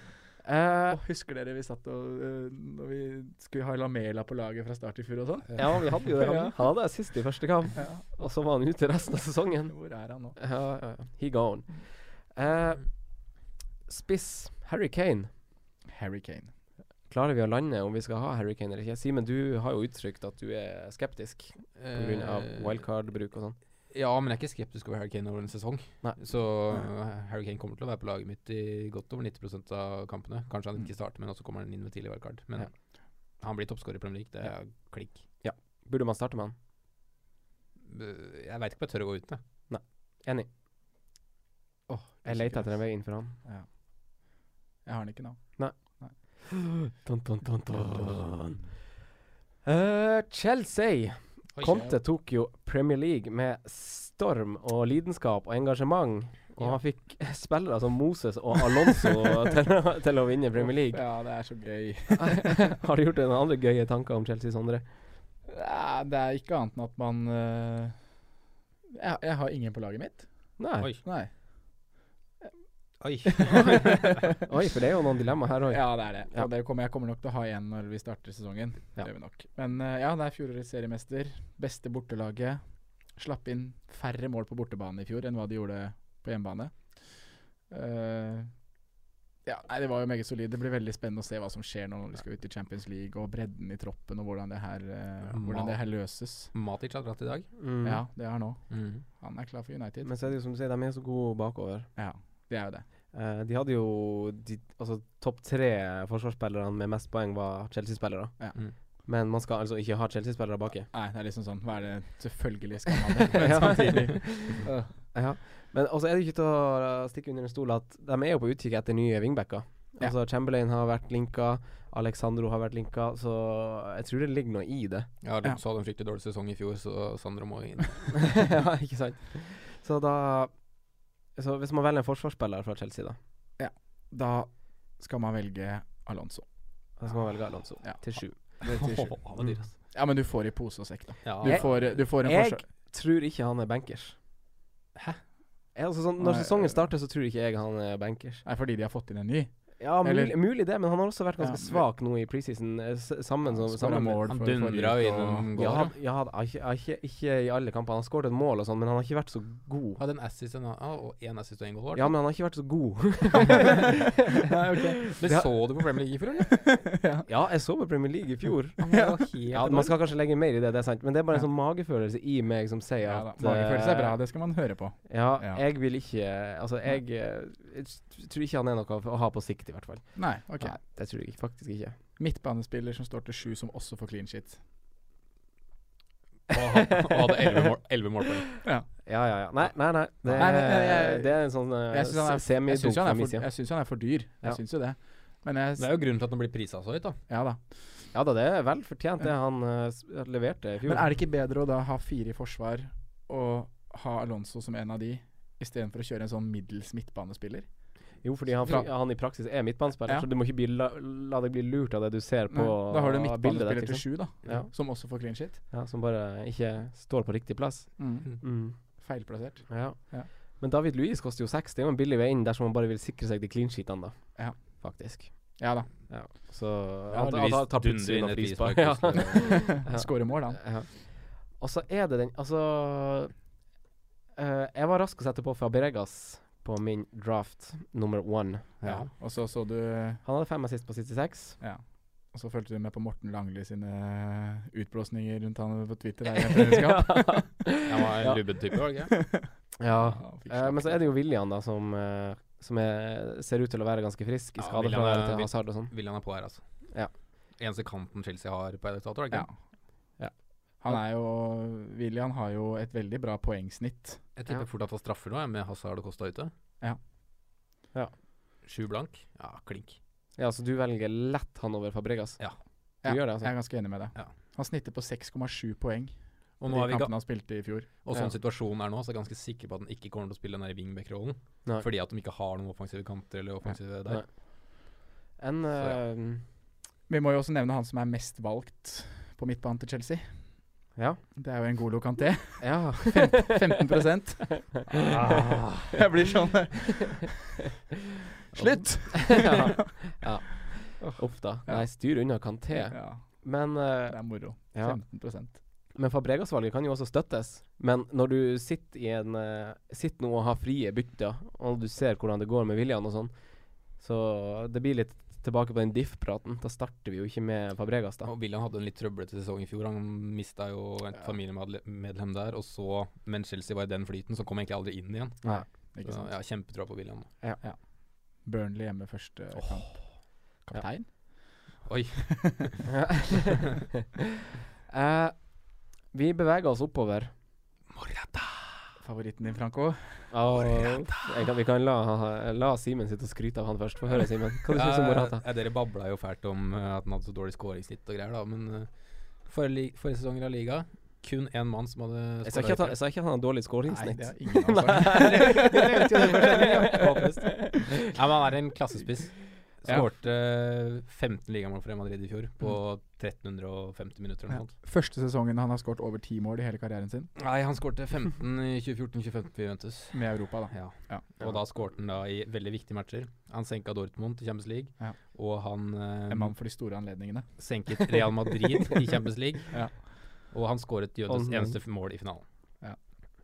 C: Eh,
E: Og husker dere vi satt og eh, Når vi skulle ha Lamela på laget fra start i fjor og sånn?
C: ja, vi hadde jo det.
E: Ja.
C: Han hadde assist i første kamp,
E: Ja.
C: og så var han ute resten av sesongen.
E: Hvor er han nå?
C: Ja, ja, ja. he gone. Eh, spiss Harry Kane.
E: Harry Kane.
C: Klarer vi å lande om vi skal ha Harry Kane eller ikke? Simen, du har jo uttrykt at du er skeptisk pga.
D: Eh,
C: wildcard-bruk og sånn.
D: Ja, men jeg er ikke skeptisk over Harry Kane over en sesong.
C: Nei.
D: Så eh, Harry Kane kommer til å være på laget mitt i godt over 90 av kampene. Kanskje han ikke starter, men også kommer han inn med tidlig wildcard. Men
C: Mm. Ja.
D: han blir toppskårer i Premier League, det er klikk.
C: Burde man starte med han?
D: Eh, Jeg veit ikke om jeg tør å gå uten, jeg.
C: Enig. Jeg leter etter en vei inn for han.
E: Jeg har den ikke nå.
C: Ton, ton, ton, ton. Eh, Chelsea.
D: Oi,
C: Conte tok jo Premier League med storm og lidenskap og engasjement. Og
D: Ja.
C: han fikk spillere som Moses og Alonso til, å- til å vinne Premier League.
E: Ja, det er så gøy.
C: Har du gjort deg noen andre gøye tanker om Chelsea, Sondre?
E: Ja, det er ikke annet enn at man eh, jeg, jeg har ingen på laget mitt.
C: Nei. Oi.
D: Oi.
E: Nei.
D: Oi.
C: for det er jo noen dilemmaer her òg.
E: Ja, det er det.
C: Ja.
E: Og det kommer, jeg kommer nok til å ha igjen når vi starter sesongen.
C: Ja.
E: Det gjør vi nok. Men eh, ja, det er fjorårets seriemester. Beste bortelaget. Slapp inn færre mål på bortebane i fjor enn hva de gjorde på hjemmebane. Eh, ja, nei, det var jo meget solid. Det blir veldig spennende å se hva som skjer nå når de skal ut i Champions League, og bredden i troppen, og hvordan det her, eh, hvordan det her løses.
D: Matic har dratt i dag.
C: Mm.
E: Ja, det er nå. Han er klar for United.
C: Men så er det jo som du sier, de er så gode bakover.
E: Ja, det er jo det.
C: Eh, de hadde jo de, Altså, topp tre forsvarsspillerne med mest poeng var Chelsea-spillere.
E: Ja.
D: Mm.
C: Men man skal altså ikke ha Chelsea-spillere baki.
E: Nei, det er liksom sånn Hva er det Selvfølgelig skal man det, men
C: Ja.
E: samtidig øh,
C: Ja. Men også er det ikke til å stikke under en stol at de er jo på utkikk etter nye wingbacker.
E: Ja.
C: Altså Chamberlain har vært linka, Alexandro har vært linka, så jeg tror det ligger noe i det.
D: Ja, Luke
E: Ja.
D: hadde en fryktelig dårlig sesong i fjor, så Sandro må inn.
C: ja, ikke sant? Så da Så hvis man velger en forsvarsspiller fra Chelsea, da,
E: Da skal man velge Alonso.
C: da skal man velge Alonso
E: Ja.
C: til sju.
E: Det er til sju.
D: Åh, han var dyr, ass.
E: Ja, men du får i pose og sekk, da.
D: Ja.
E: Du får, du får en
C: Jeg-
E: forskjell.
C: Tror ikke han er bankers.
D: Hæ?
C: Ja, Altså, sånn, når
E: Nei,
C: sesongen
E: øh.
C: starter, så tror ikke jeg han er bankers.
E: Nei, fordi de har fått inn en ny.
C: Ja,
E: Eller-
C: mulig, mulig det, men han har også vært ganske
E: Ja,
C: svak nå i preseason. eh, s- Sammen som
E: Skåret
C: sammen med-
E: mål
D: han
E: for forrige
D: dundra jo
E: uke,
D: inn en
E: og-
D: gål.
C: Ja,
D: Ja.
C: han- ja, han- ikke, ikke, ikke i alle kampene. Han har skåret et mål og sånn, men han har ikke vært så god.
D: Hadde en assist en, ah, og en assist og en goal.
C: Ja, men han har ikke vært så god.
E: Nei, ok.
D: men
C: det-
D: så du på Premier League i fjor, eller?
C: Ja, jeg så på Premier League i fjor.
D: Han var helt
C: Ja, Man skal kanskje legge mer i det, det er sant, men det er bare en sånn magefølelse i meg som sier
E: Ja, da.
C: at
E: Magefølelse er bra,
C: eh,
E: det skal man høre på.
C: Ja,
E: Ja.
C: jeg vil ikke Altså, jeg, eh, jeg t- tror ikke han er noe å ha på sikt, i hvert fall.
E: Nei, ok.
C: Nei, det tror jeg ikke- faktisk ikke.
E: Midtbanespiller som står til sju, som også får clean shit.
D: Og han- og hadde elleve mål, 11 målpoeng.
C: Ja, ja, ja. Nei, nei, nei. Det,
E: Nei, men jeg-
C: er,
E: jeg-
C: det er en sånn
E: Jeg syns han,
C: uh,
E: er- jeg
C: semidunk
E: synes han,
C: fra
E: er
C: min
E: for-
C: side.
E: jeg synes han er for dyr.
C: Ja.
E: Jeg syns jo det. Men jeg
D: Det er jo grunnen til at han blir prisa så høyt, da.
E: Ja da.
C: Ja da, det er vel fortjent det han eh, s- leverte i fjor.
E: Men er det ikke bedre å da ha fire i forsvar og ha Alonso som en av de, istedenfor å kjøre en sånn middels midtbanespiller?
C: Jo, fordi han,
E: Fra-
C: han i praksis er midtbanespiller,
E: Ja.
C: så du må ikke bli, la, la deg bli lurt av det du ser på
E: Nei, da har du en
C: bildet ditt.
E: midtbanespiller til
C: Liksom.
E: sju, da,
C: Ja.
E: som også får clean shit.
C: Ja, som bare ikke står på riktig plass. Mm.
E: Feilplassert.
C: Ja.
E: Ja.
C: Men David Luiz koster jo seks. Det er jo en billig vei inn dersom man bare vil sikre seg de clean sheetene, da.
E: Ja.
C: Faktisk.
E: Ja da.
C: Ja. Så
D: Ja,
C: han, han tar- tar
D: Luiz
C: plutselig
D: dundrer
C: unna
D: inn et
C: frispark. Ja.
D: frispark, plutselig.
C: Ja.
E: Skårer mål, da.
C: Ja. Og så er det den Altså eh, Jeg var rask å sette på Fabregas på min draft nummer one.
E: Ja. Og så så du
C: Han hadde fem assist på 66.
E: Ja. Og så fulgte du med på Morten Langli sine eh, utblåsninger rundt han på Twitter. Her, i en treningskamp.
D: Han var en
C: Ja.
D: lubben type, var det ikke?
C: Ja.
E: Ja, fikk
C: Eh, men
E: slakt.
C: så er det jo William, da, som, eh, som er, ser ut til å være ganske frisk i
D: Ja,
C: skadefraværet
D: Willian er-
C: til Hazard og sånn.
D: William er på her, altså.
C: Ja.
D: Eneste kanten Chelsea har på Edith Tator, er det
E: Ja.
D: ikke?
C: Ja.
E: Han er jo William har jo et veldig bra poengsnitt.
D: Jeg
C: Ja.
D: tipper fort at han straffer nå, jeg, med Hazard og Costa ute.
E: Ja.
C: Ja.
D: Sju blank. Ja, klink.
C: Ja, så du velger lett han over Fabregas?
D: Ja.
C: Du
E: Ja,
C: gjør det, altså?
E: Jeg er ganske enig med deg.
D: Ja.
E: Han snitter på 6,7 poeng
D: Og,
E: i
D: nå er vi ga
E: kampene han spilte i fjor.
D: og sånn
C: Ja.
D: situasjonen er nå, så er jeg ganske sikker på at han ikke kommer til å spille den der wingback-rollen.
C: Nei.
D: Fordi at de ikke har noen offensive kanter eller offensive der.
C: Nei. En eh,
E: Vi må jo også nevne han som er mest valgt på midtbanen til Chelsea.
C: Ja.
E: Det er jo en god lokanté.
C: Ja.
E: 15 Jeg blir sånn Slutt!
C: ja. ja. Uff da.
E: Ja.
C: Nei, styr unna Kanté.
E: Ja,
C: Men,
E: det
C: eh,
E: er moro.
C: ja.
E: 15
C: men Fabregas-valget kan jo også støttes. Men når du sitter i en eh, Sitter nå og har frie bytter, og du ser hvordan det går med William og sånn, så det blir litt tilbake på den diff-praten. Da starter vi jo ikke med Fabregas, da.
D: Og William hadde en litt trøblete sesong i fjor. Han mista jo et familiemedlem der. Og så, men Chelsea var i den flyten, så kom han egentlig aldri inn igjen.
E: Ikke
D: Så
E: sant?
D: jeg har kjempetroa på William.
E: Burnley hjemme første kamp. Kaptein?
D: Oi.
C: Eh, vi beveger oss oppover.
E: Favoritten din, Franco?
C: Og jeg kan, vi kan la, la Simen sitte og skryte av han først. Få høre, Simen. Hva du synes du om Morata?
D: Eh, dere babla jo fælt om eh, at han hadde så dårlig skåringssnitt og greier, da. Men eh, forrige, forrige sesong i La Liga, kun én mann som hadde
C: Jeg sa
D: scoret
C: ikke at han,
D: høyere.
C: jeg sa ikke at han har dårlig
E: Nei,
C: skåringssnitt.
E: det er ingen av oss.
D: Nei, men han er en klassespiss.
E: Ja.
D: Skårte eh, 15 ligamål for Real Madrid i fjor på 1350 minutter eller noe sånt.
E: Første sesongen han har skåret over ti mål i hele karrieren sin,
D: Nei, han skårte 15 i 2014-2015 for Juventus.
E: med Europa, da.
D: Ja.
E: Ja.
D: Og da skårte han da i veldig viktige matcher. Han senka Dortmund til Champions League,
E: Ja.
D: og han eh,
E: En mann for de store anledningene.
D: senket Real Madrid i Champions League.
E: Ja.
D: Og han skåret Jødes
C: Og-
D: eneste f- mål i finalen.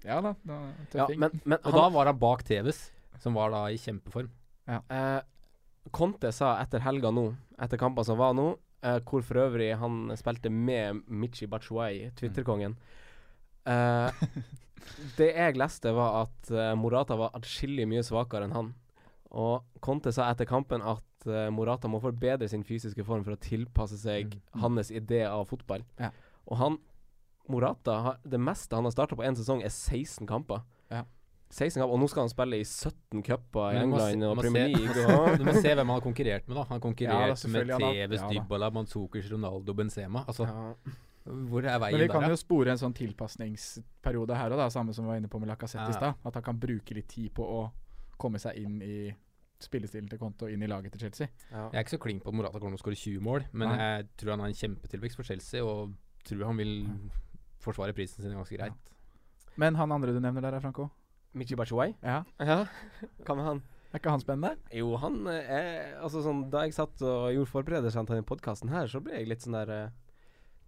E: Ja da, da
C: Ja,
E: tøffing.
C: men, men
D: Og
C: han,
D: da var han bak Tevez, som var da i kjempeform.
C: eh, Conte sa etter helga nå, etter kampene som var nå, eh, hvor for øvrig han spilte med Michi Batshuayi, Twitter-kongen eh, Det jeg leste, var at eh, Morata var atskillig mye svakere enn han. Og Conte sa etter kampen at eh, Morata må forbedre sin fysiske form for å tilpasse seg
D: Mm,
C: hans idé av fotball.
E: Ja.
C: Og han Morata, har, det meste han har starta på én sesong, er 16 kamper.
E: Ja.
C: 16 kamper, Og nå skal han spille i 17 cuper i
D: Men du må se-
C: England
D: du
C: og
D: må
C: Premier
D: se-
C: League. Og,
D: Du må se hvem han har konkurrert med, da. Han har
E: Ja, da,
D: konkurrert med
E: selvfølgelig, han har-
D: Tevez,
E: ja, da.
D: Dybala, Manzukers, Ronaldo, Benzema. Altså,
C: ja.
D: hvor er
E: Men vi
D: veien der,
E: kan
D: da?
E: jo spore en sånn tilpasningsperiode her òg, samme som vi var inne på med Lacassette i stad.
D: Ja.
E: At han kan bruke litt tid på å komme seg inn i spillestilen til Konto og inn i laget til Chelsea.
C: Ja.
D: Jeg er ikke så klink på at Morata kommer til å skåre 20 mål, men
E: Nei.
D: jeg tror han har en kjempetilvekst for Chelsea, og tror han vil forsvare prisen sin ganske greit.
E: Men han andre du nevner der, er Franco?
C: Michi Batshuayi?
E: Ja.
C: Ja. Hva med han?
E: Er ikke han spennende?
C: Jo, han eh, er Altså, sånn Da jeg satt og gjorde forberedelser til denne podkasten her, så ble jeg litt sånn der eh,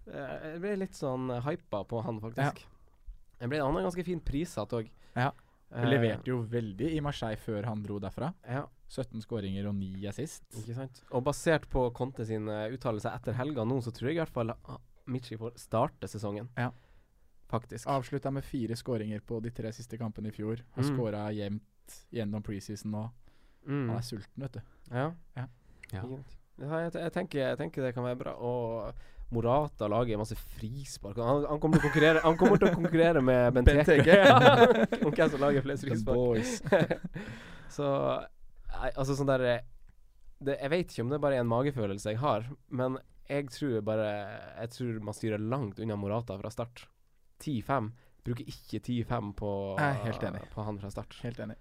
C: eh, Jeg ble litt sånn eh, hypa på han, faktisk. Jeg ble, han har ganske fin prissatt òg.
E: Ja.
C: Eh.
E: Leverte jo veldig i Marseille før han dro derfra.
C: Ja,
E: 17 skåringer og 9 assist.
C: ikke sant. Og basert på Conte sin eh, uttalelse etter helga nå, så tror jeg i hvert fall ah, Michi får starte sesongen.
E: Ja.
C: Faktisk.
E: Avslutta med fire skåringer på de tre siste kampene i fjor. Har
C: Mm.
E: skåret skåra jevnt gjennom preseason nå.
C: Mm.
E: Han er sulten, vet du.
C: Ja.
E: Ja.
D: Ja.
C: Ikke sant. Ja, jeg, te- jeg, tenker, jeg tenker det kan være bra. Og Morata lager masse frispark. Han, han, kommer, til å konkurrere, han kommer til å konkurrere med Benteke Ja, om hvem som lager flest
E: The
C: frispark.
E: boys.
C: Så nei, altså sånn der eh, det, Jeg vet ikke om det er bare en magefølelse jeg har, men jeg tror bare Jeg tror man styrer langt unna Morata fra start. 10-5. Bruker ikke 10-5 på,
E: Jeg er helt enig.
C: på han fra start.
E: Helt enig.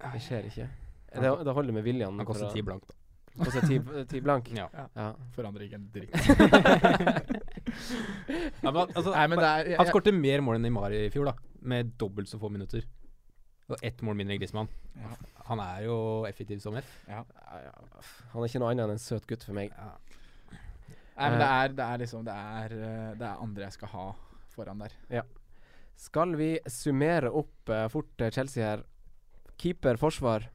C: Det skjer ikke. Det, det holder med viljen.
D: Han koster
C: for å-
D: ti blankt, da.
C: koster ti- eh, ti blank.
D: Ja.
C: Ja.
E: Forandrer ikke en dritt.
D: Ja, men, altså,
E: Nei, men det er
D: han skårte mer mål enn Neymar i fjor, da. Med dobbelt så få minutter. Og ett mål mindre enn Griezmann.
E: Ja.
D: Han er jo effektiv som F.
C: Ja, ja. Han er ikke noe annet enn en søt gutt for meg.
E: Nei, men det er, det er liksom det er, eh, det er andre jeg skal ha foran der.
C: Skal vi summere opp eh, fort eh, Chelsea her? Keeper, forsvar.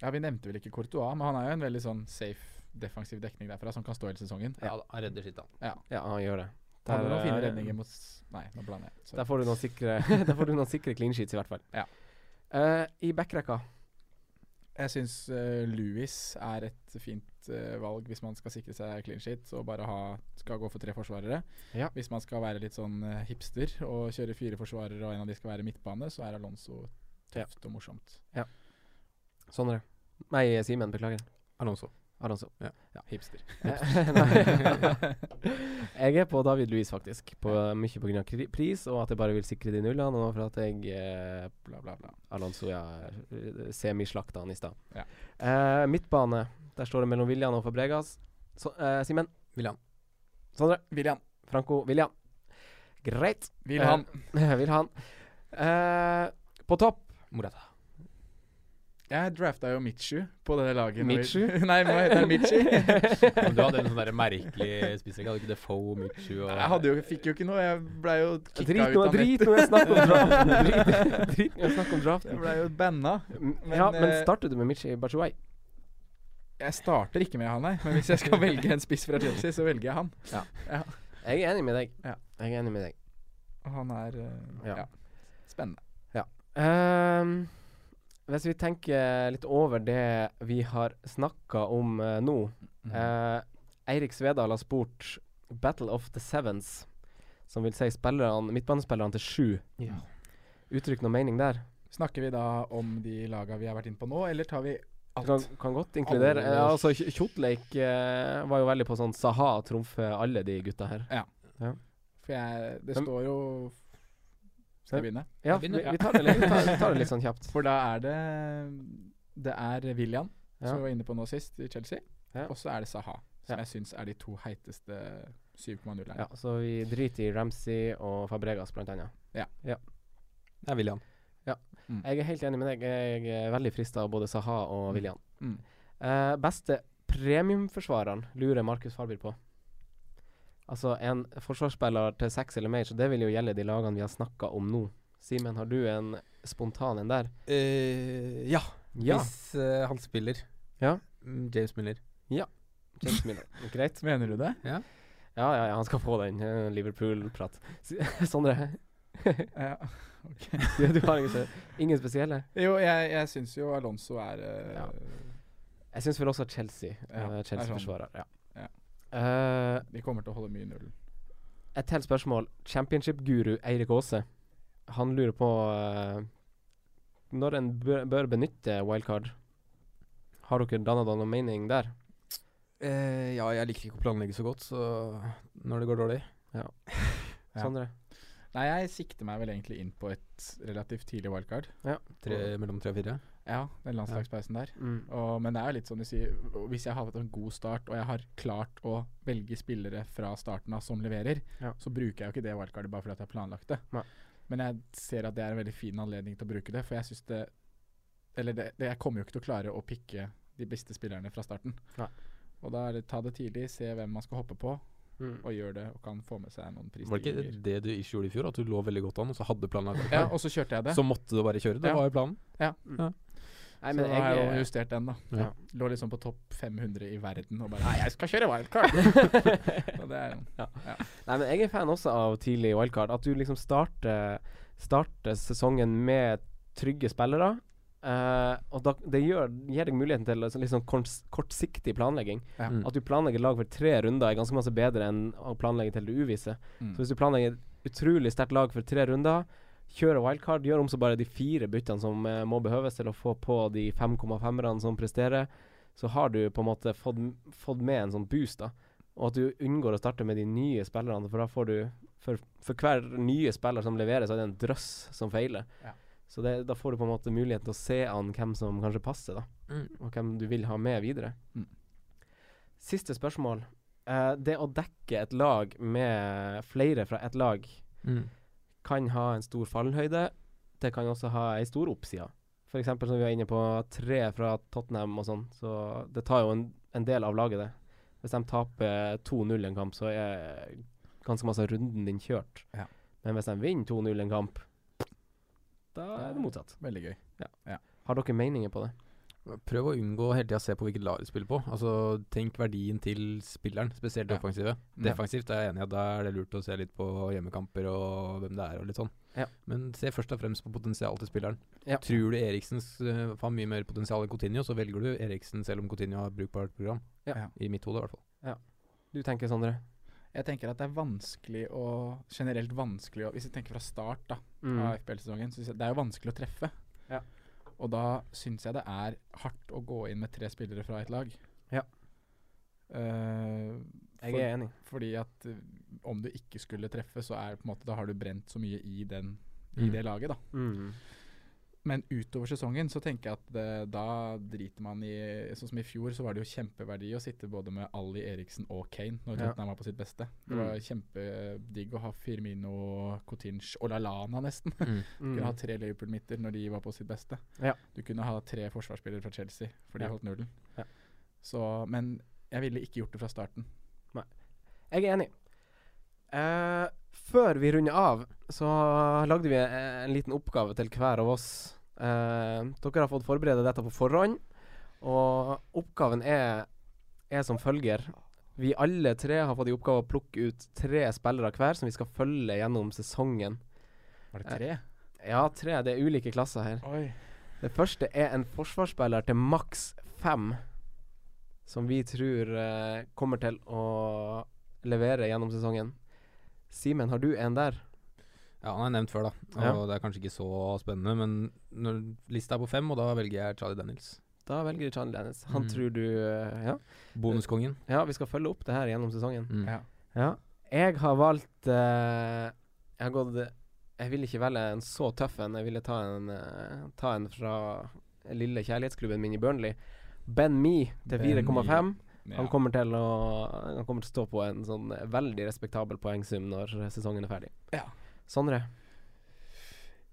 E: Ja, Vi nevnte vel ikke Courtois, men han er jo en veldig sånn safe defensiv dekning derfra som kan stå hele sesongen.
D: Ja, da, han redder sitt, da.
C: Ja, han gjør det.
E: Han hadde
C: Der,
E: noen fine
C: eh,
E: redninger mot s- Nei, nå blander jeg. Sorry.
C: Der får du noen sikre, der får du noen sikre clean sheets, i hvert fall.
E: Ja.
C: Eh, I backrekka
E: Jeg syns Louis er et fint eh, valg hvis man skal sikre seg clean sheet og bare ha, skal gå for tre forsvarere.
C: Ja.
E: Hvis man skal være litt sånn eh, hipster og kjøre fire forsvarere og en av de skal være midtbane, så er Alonso
C: Ja.
E: tøft og morsomt.
C: Sondre. Nei, Simen. Beklager.
D: Alonso.
C: Alonso.
E: Hipster.
C: Eh, nei. jeg er på David Louis, faktisk. På, mye pga. pris, og at jeg bare vil sikre de nullene. Og for at jeg eh,
E: Bla, bla, bla.
C: Alonso ja, eh, semislakta han i stad.
E: Ja.
C: Eh, midtbane. Der står det mellom William og Fabregas. Så, eh, Simen.
D: William.
C: Sondre.
E: William.
C: Franco. William. Greit.
E: Vil han.
C: Eh, vil han. Eh, på topp
D: Morata.
E: Jeg drafta jo Mitchu på det laget. når vi-
C: Mitchu?
E: nei, nå heter han Mitchu.
D: Men Du hadde en sånn der merkelig spissrekke. Hadde ikke Defoe, Michu og
E: Jeg hadde jo, fikk jo ikke noe. Jeg blei jo kicka
C: Drit
E: ut
C: nå
E: av
C: drit
E: nettet.
C: nå i snakk om draften. Drit- Drit nå i snakk om
E: Jeg
C: draften.
E: blei jo banna.
C: M-
E: Men,
C: ja, men
E: eh,
C: starter du med Michi Bachuay?
E: Jeg starter ikke med han, nei. Men hvis jeg skal velge en spiss fra Chelsea, så velger jeg han.
C: Jeg er enig med deg.
E: Ja.
C: Jeg er enig med deg.
E: Og han er eh,
C: Ja.
E: ja. Spennende.
C: Ehm, hvis vi tenker litt over det vi har snakka om eh, nå
E: Mm.
C: eh, Eirik Svedal har spurt Battle of the Sevens, som vil si spillerne, midtbanespillerne til sju.
D: Ja.
C: Uttrykk noe mening der?
E: Snakker vi da om de laga vi har vært inne på nå, eller tar vi
C: Du
E: alt?
C: kan, kan godt inkludere
D: Alle-
C: ja, altså, Kj- Kjotleik eh, var jo veldig på sånn Saha trumfer alle de gutta her.
E: For jeg, det
C: Men-
E: står jo Skal jeg begynne?
C: Ja, vi,
D: Jeg begynner, ja.
C: vi, tar det litt, vi, tar, vi tar det litt sånn kjapt.
E: For da er det Det er William,
C: Ja.
E: som vi var inne på nå sist, i Chelsea.
C: Ja.
E: Og så er det Saha, som
C: Ja.
E: jeg syns er de to heiteste 7,0-erne.
C: Ja, så vi driter i Ramsey og Fabregas, blant annet.
D: Det er William.
C: Jeg er helt enig med deg. Jeg er veldig frista av både Saha og
E: Mm.
C: William.
E: Mm.
C: Eh, beste premiumforsvareren lurer Markus Farbil på. Altså en forsvarsspiller til seks eller mer, så det vil jo gjelde de lagene vi har snakka om nå. Simen, har du en spontan en der?
D: Eh, ja,
C: Ja.
D: hvis eh, han spiller.
C: Ja.
D: Mm, James Miller.
C: James Miller. Greit.
E: Mener du det?
C: Ja, ja, ja, han skal få den eh, Liverpool-prat. S- Sondre,
E: Ja.
C: du, du har ingen, ingen spesielle?
E: Jo, jeg, jeg syns jo Alonso er eh,
C: Ja. Jeg syns vel også Chelsea. eh,
E: Ja, det er sånn.
C: Chelsea-forsvarer. Ja.
E: Ja.
C: Eh,
E: De kommer til å holde mye null.
C: et til spørsmål. Championship-guru Eirik Aase, han lurer på eh, når en bør, bør benytte wildcard. Har dere danna dere noen mening der?
D: Eh, ja, jeg liker ikke å planlegge så godt, så når det går dårlig
E: Ja.
C: Sondre?
E: Nei, jeg sikter meg vel egentlig inn på et relativt tidlig wildcard.
D: tre, Mellom tre og fire.
E: Ja, den landslagspausen der.
C: Mm.
E: Og, men det er jo litt som du sier, hvis jeg har hatt en god start, og jeg har klart å velge spillere fra starten av som leverer,
C: Ja.
E: så bruker jeg jo ikke det wildcardet bare fordi at jeg har planlagt det.
C: Nei.
E: Men jeg ser at det er en veldig fin anledning til å bruke det, for jeg syns det Eller det, det, jeg kommer jo ikke til å klare å pikke de beste spillerne fra starten.
C: Nei.
E: Og da er det ta det tidlig, se hvem man skal hoppe på,
C: Mm.
E: og gjør det, og kan få med seg noen
D: Var det
E: prisstigninger.
D: ikke det du ikke gjorde i fjor? At du lå veldig godt an, og så hadde du planlagt
E: Ja, og så kjørte jeg det.
D: Så måtte du bare kjøre. Det
E: Ja.
D: var jo planen.
C: Nei,
E: så
C: men
E: da har jeg jo
C: jeg eh,
E: justert den, da.
D: Ja.
E: Lå liksom på topp 500 i verden og bare Nei, jeg skal kjøre wildcard! og det er jo
C: eh, Nei, men jeg er fan også av tidlig wildcard. At du liksom starter, starter sesongen med trygge spillere. eh, og da, det gjør, gir deg muligheten til liksom, liksom kors, kortsiktig planlegging.
E: Ja.
D: Mm.
C: At du planlegger lag for tre runder er ganske masse bedre enn å planlegge til det uvisse.
E: Mm.
C: Så hvis du planlegger et utrolig sterkt lag for tre runder, kjører wildcard, gjør om så bare de fire byttene som eh, må behøves til å få på de 5,5-erne som presterer, så har du på en måte fått, fått med en sånn boost, da. og at du unngår å starte med de nye spillerne, for da får du For, for hver nye spiller som leverer, så er det en drøss som feiler.
D: Ja.
C: Så det, da får du på en måte mulighet til å se an hvem som kanskje passer, da.
D: Mm.
C: Og hvem du vil ha med videre.
E: Mm.
C: Siste spørsmål. Eh, det å dekke et lag med flere fra et lag Mm. kan ha en stor fallhøyde. Det kan også ha ei stor oppside. For eksempel som vi var inne på, tre fra Tottenham og sånn. Så det tar jo en, en del av laget, det. Hvis de taper 2-0 en kamp, så er ganske masse av runden din kjørt.
D: Ja.
C: Men hvis de vinner 2-0 en kamp, da er det motsatt.
E: Veldig gøy.
C: Har dere meninger på det?
D: Prøv å unngå å hele tida se på hvilket lag du spiller på. Altså, Tenk verdien til spilleren, spesielt
E: Ja.
D: det offensive.
E: Ja.
D: Defensivt er jeg enig i at da er det lurt å se litt på hjemmekamper og hvem det er og litt sånn.
C: Ja.
D: Men se først og fremst på potensial til spilleren.
C: Ja.
D: Tror du Eriksen s- eh, har mye mer potensial enn Coutinho, så velger du Eriksen selv om Coutinho har brukbart program.
C: Ja.
D: I mitt hode, i hvert fall.
C: Du tenker, Sondre?
E: Jeg tenker at det er vanskelig å Generelt vanskelig å Hvis jeg tenker fra start da
C: Mm.
E: av FPL-sesongen, så synes jeg det er jo vanskelig å treffe.
C: Ja.
E: Og da syns jeg det er hardt å gå inn med tre spillere fra et lag.
C: Ja.
E: Eh,
C: Jeg er enig.
E: Fordi at eh, om du ikke skulle treffe, så er det på en måte Da har du brent så mye i, den, i
D: Mm.
E: det laget, da.
C: Mm.
E: Men utover sesongen så tenker jeg at det, da driter man i Sånn som i fjor, så var det jo kjempeverdi å sitte både med Ali Eriksen og Kane når
C: Ja. Mm.
E: Tottenham var på sitt beste. Det var kjempedigg å ha Firmino, Coutinche og Lallana nesten.
C: Mm.
E: Kunne ha tre Liverpool-midter når de var på sitt beste.
C: Ja.
E: Du kunne ha tre forsvarsspillere fra Chelsea, for de
C: Ja.
E: holdt nullen.
C: Ja.
E: Så, men jeg ville ikke gjort det fra starten.
C: Jeg er enig. Eh, før vi runder av, så lagde vi eh, en liten oppgave til hver av oss. Eh, dere har fått forberede dette på forhånd, og oppgaven er, er som følger. Vi alle tre har fått i oppgave å plukke ut tre spillere hver som vi skal følge gjennom sesongen.
E: Var
C: det
E: tre?
C: Ja, tre. Det er ulike klasser her.
E: Oi.
C: Det første er en forsvarsspiller til maks fem, som vi tror eh, kommer til å levere gjennom sesongen. Simen, har du en der?
D: Ja, han er nevnt før, da. Og
C: Ja.
D: det er kanskje ikke så spennende, men når lista er på fem, og da velger jeg Charlie Daniels.
C: Da velger du Chan Lennis. Han
D: Mm.
C: tror du eh, ja.
D: Bonuskongen.
C: ja, vi skal følge opp det her gjennom sesongen.
D: Mm.
E: Ja.
C: Ja. Jeg har valgt eh, Jeg har gått Jeg ville ikke velge en så tøff en. Jeg ville ta en, eh, ta en fra lille kjærlighetsklubben min i Burnley. Ben Me til
E: Ben Mee.
C: 4,5.
E: Ja.
C: Han kommer, til å, han kommer til å stå på en sånn veldig respektabel poengsum når sesongen er ferdig.
E: Ja.
C: Sondre?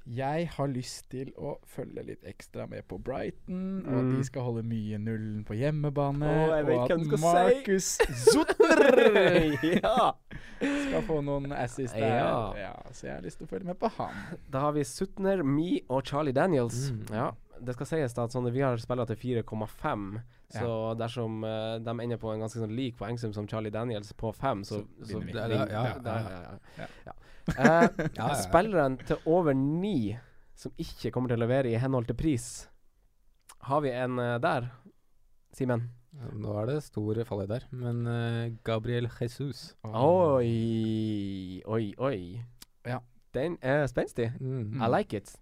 E: Jeg har lyst til å følge litt ekstra med på Brighton, og at
C: Mm.
E: de skal holde mye nullen på hjemmebane.
C: Å, jeg vet
E: og
C: hva
E: at
C: du skal
E: Markus Zutter
C: ja!
E: skal få noen assist der.
C: Ja.
E: Ja, så jeg har lyst til å følge med på han.
C: Da har vi Sutner, Me og Charlie Daniels.
D: Mm.
C: Ja, Det skal sies da at sånn, vi har spillere til 4,5, så dersom eh, de ender på en ganske sånn lik poengsum som Charlie Daniels på 5, så,
E: Så
C: så
E: vinner vi.
D: Det er- det er- ja, ja,
C: Da- ja.
E: ja.
C: Eh,
D: Ja, ja, ja.
C: Spilleren til over 9 som ikke kommer til å levere i henhold til pris, har vi en eh, der, Simen?
D: Ja, Nå er det stor fallhøyde der, men eh, Gabriel Jesus
C: Oi, oi, oi.
E: Ja.
C: Den er spenstig.
D: mm.
C: I like it.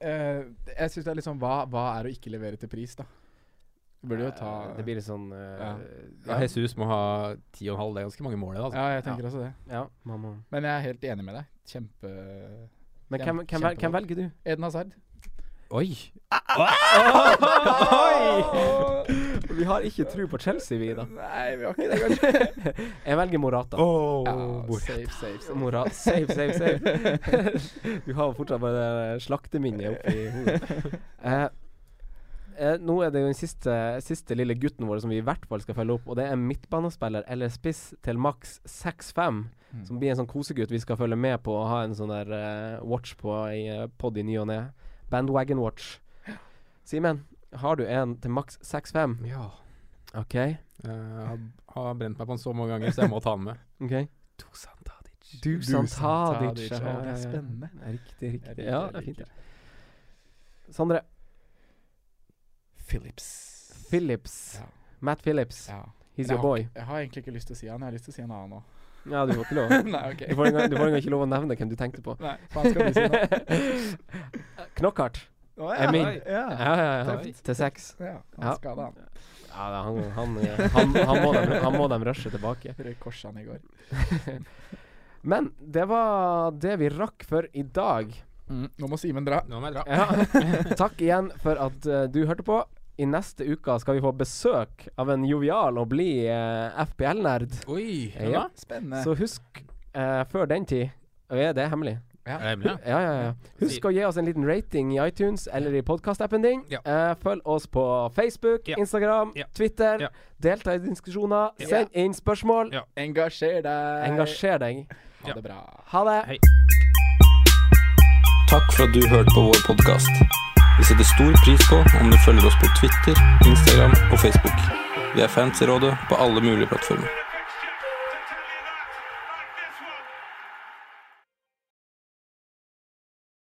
E: Eh, jeg syns det er litt sånn hva, hva er å ikke levere til pris, da? Du burde jo ta
C: Eh, Det blir litt sånn eh,
D: ja, Jesus må ha ti og en halv, det er ganske mange mål i det. Altså.
E: Ja, jeg tenker også det.
C: ja, mamma.
E: Men jeg er helt enig med deg. Kjempe
C: Men hvem, hvem,
E: Kjem-
C: vel, hvem
E: kjempevalg.
C: velger du?
E: Eden Hazard.
D: Oi!
C: Oi! Vi har ikke tro på Chelsea, vi, da.
E: Nei, vi har ikke det, kanskje.
C: Jeg velger Morata.
D: Oh,
E: Ja, altså, safe, safe, safe.
C: Mora, save, save, save. du har jo fortsatt bare det der slakteminnet oppi hodet. Eh, eh, nå er det jo den siste, siste lille gutten vår som vi i hvert fall skal følge opp, og det er midtbanespiller eller spiss til maks 6-5,
E: Mm.
C: som blir en sånn kosegutt vi skal følge med på og ha en sånn der eh, watch på i eh, podd i ny og ne. Bandwagon watch. Simen, har du en til maks 6-5?
D: Ja.
C: OK.
D: Jeg har, har brent meg på han så mange ganger, så jeg må ta han med.
C: ok
D: Dusan Tadic.
C: Dusan Tadic.
E: Tadic, ja, det er
C: ja, ja.
E: spennende.
C: Riktig,
E: Jeg
C: riktig.
E: liker,
C: Ja,
E: jeg
C: det er fint.
E: liker.
C: det. Sondre.
E: Phillips.
C: Phillips.
E: Ja.
C: Matt Phillips.
E: Ja.
C: He's
E: Men jeg
C: your
E: har
C: boy.
E: Jeg har egentlig ikke lyst til å si han, jeg har lyst til å si en annen òg.
C: Ja, du får ikke lov.
E: Nei, ok.
C: Du får engang, du får engang ikke lov å nevne hvem du tenkte på.
E: Nei, faen skal du si nå?
C: Knockhart.
A: Å,
C: Jeg mener-
A: oi, ja.
C: Ja, ja, ja.
A: Tøft.
C: Til seks.
A: Ja.
E: Han
C: Ja.
E: skada han.
C: Ja, da, han, han, han, han, må dem, han må dem rushe tilbake.
E: Røyk korset han i går.
C: Men det var det vi rakk for i dag. Mm.
E: Nå må Simen dra.
D: Nå må jeg dra.
C: Ja. Takk igjen for at eh, du hørte på. I neste uke skal vi få besøk av en jovial og blid eh, FPL-nerd.
D: Oi,
C: Ja.
D: ja.
A: Spennende.
C: Så husk, eh, før den tid og ja, Det er hemmelig.
D: Er det hemmelig? ja?
C: Ja, ja, ja. Husk å gi oss en liten rating i iTunes eller i podkastappen din.
D: Ja.
C: Eh, følg oss på Facebook,
D: Ja.
C: Instagram,
D: Ja.
C: Twitter.
D: Ja.
C: Delta i diskusjoner.
D: Ja.
C: Send inn spørsmål. Eh,
D: Ja.
E: Engasjer deg!
C: Engasjer deg.
E: Ha det bra.
C: Ha det.
D: Hei.
B: Takk for at du hørte på vår podkast. Vi setter stor pris på om du følger oss på Twitter, Instagram og Facebook. Vi er fans i rådet på alle mulige plattformer.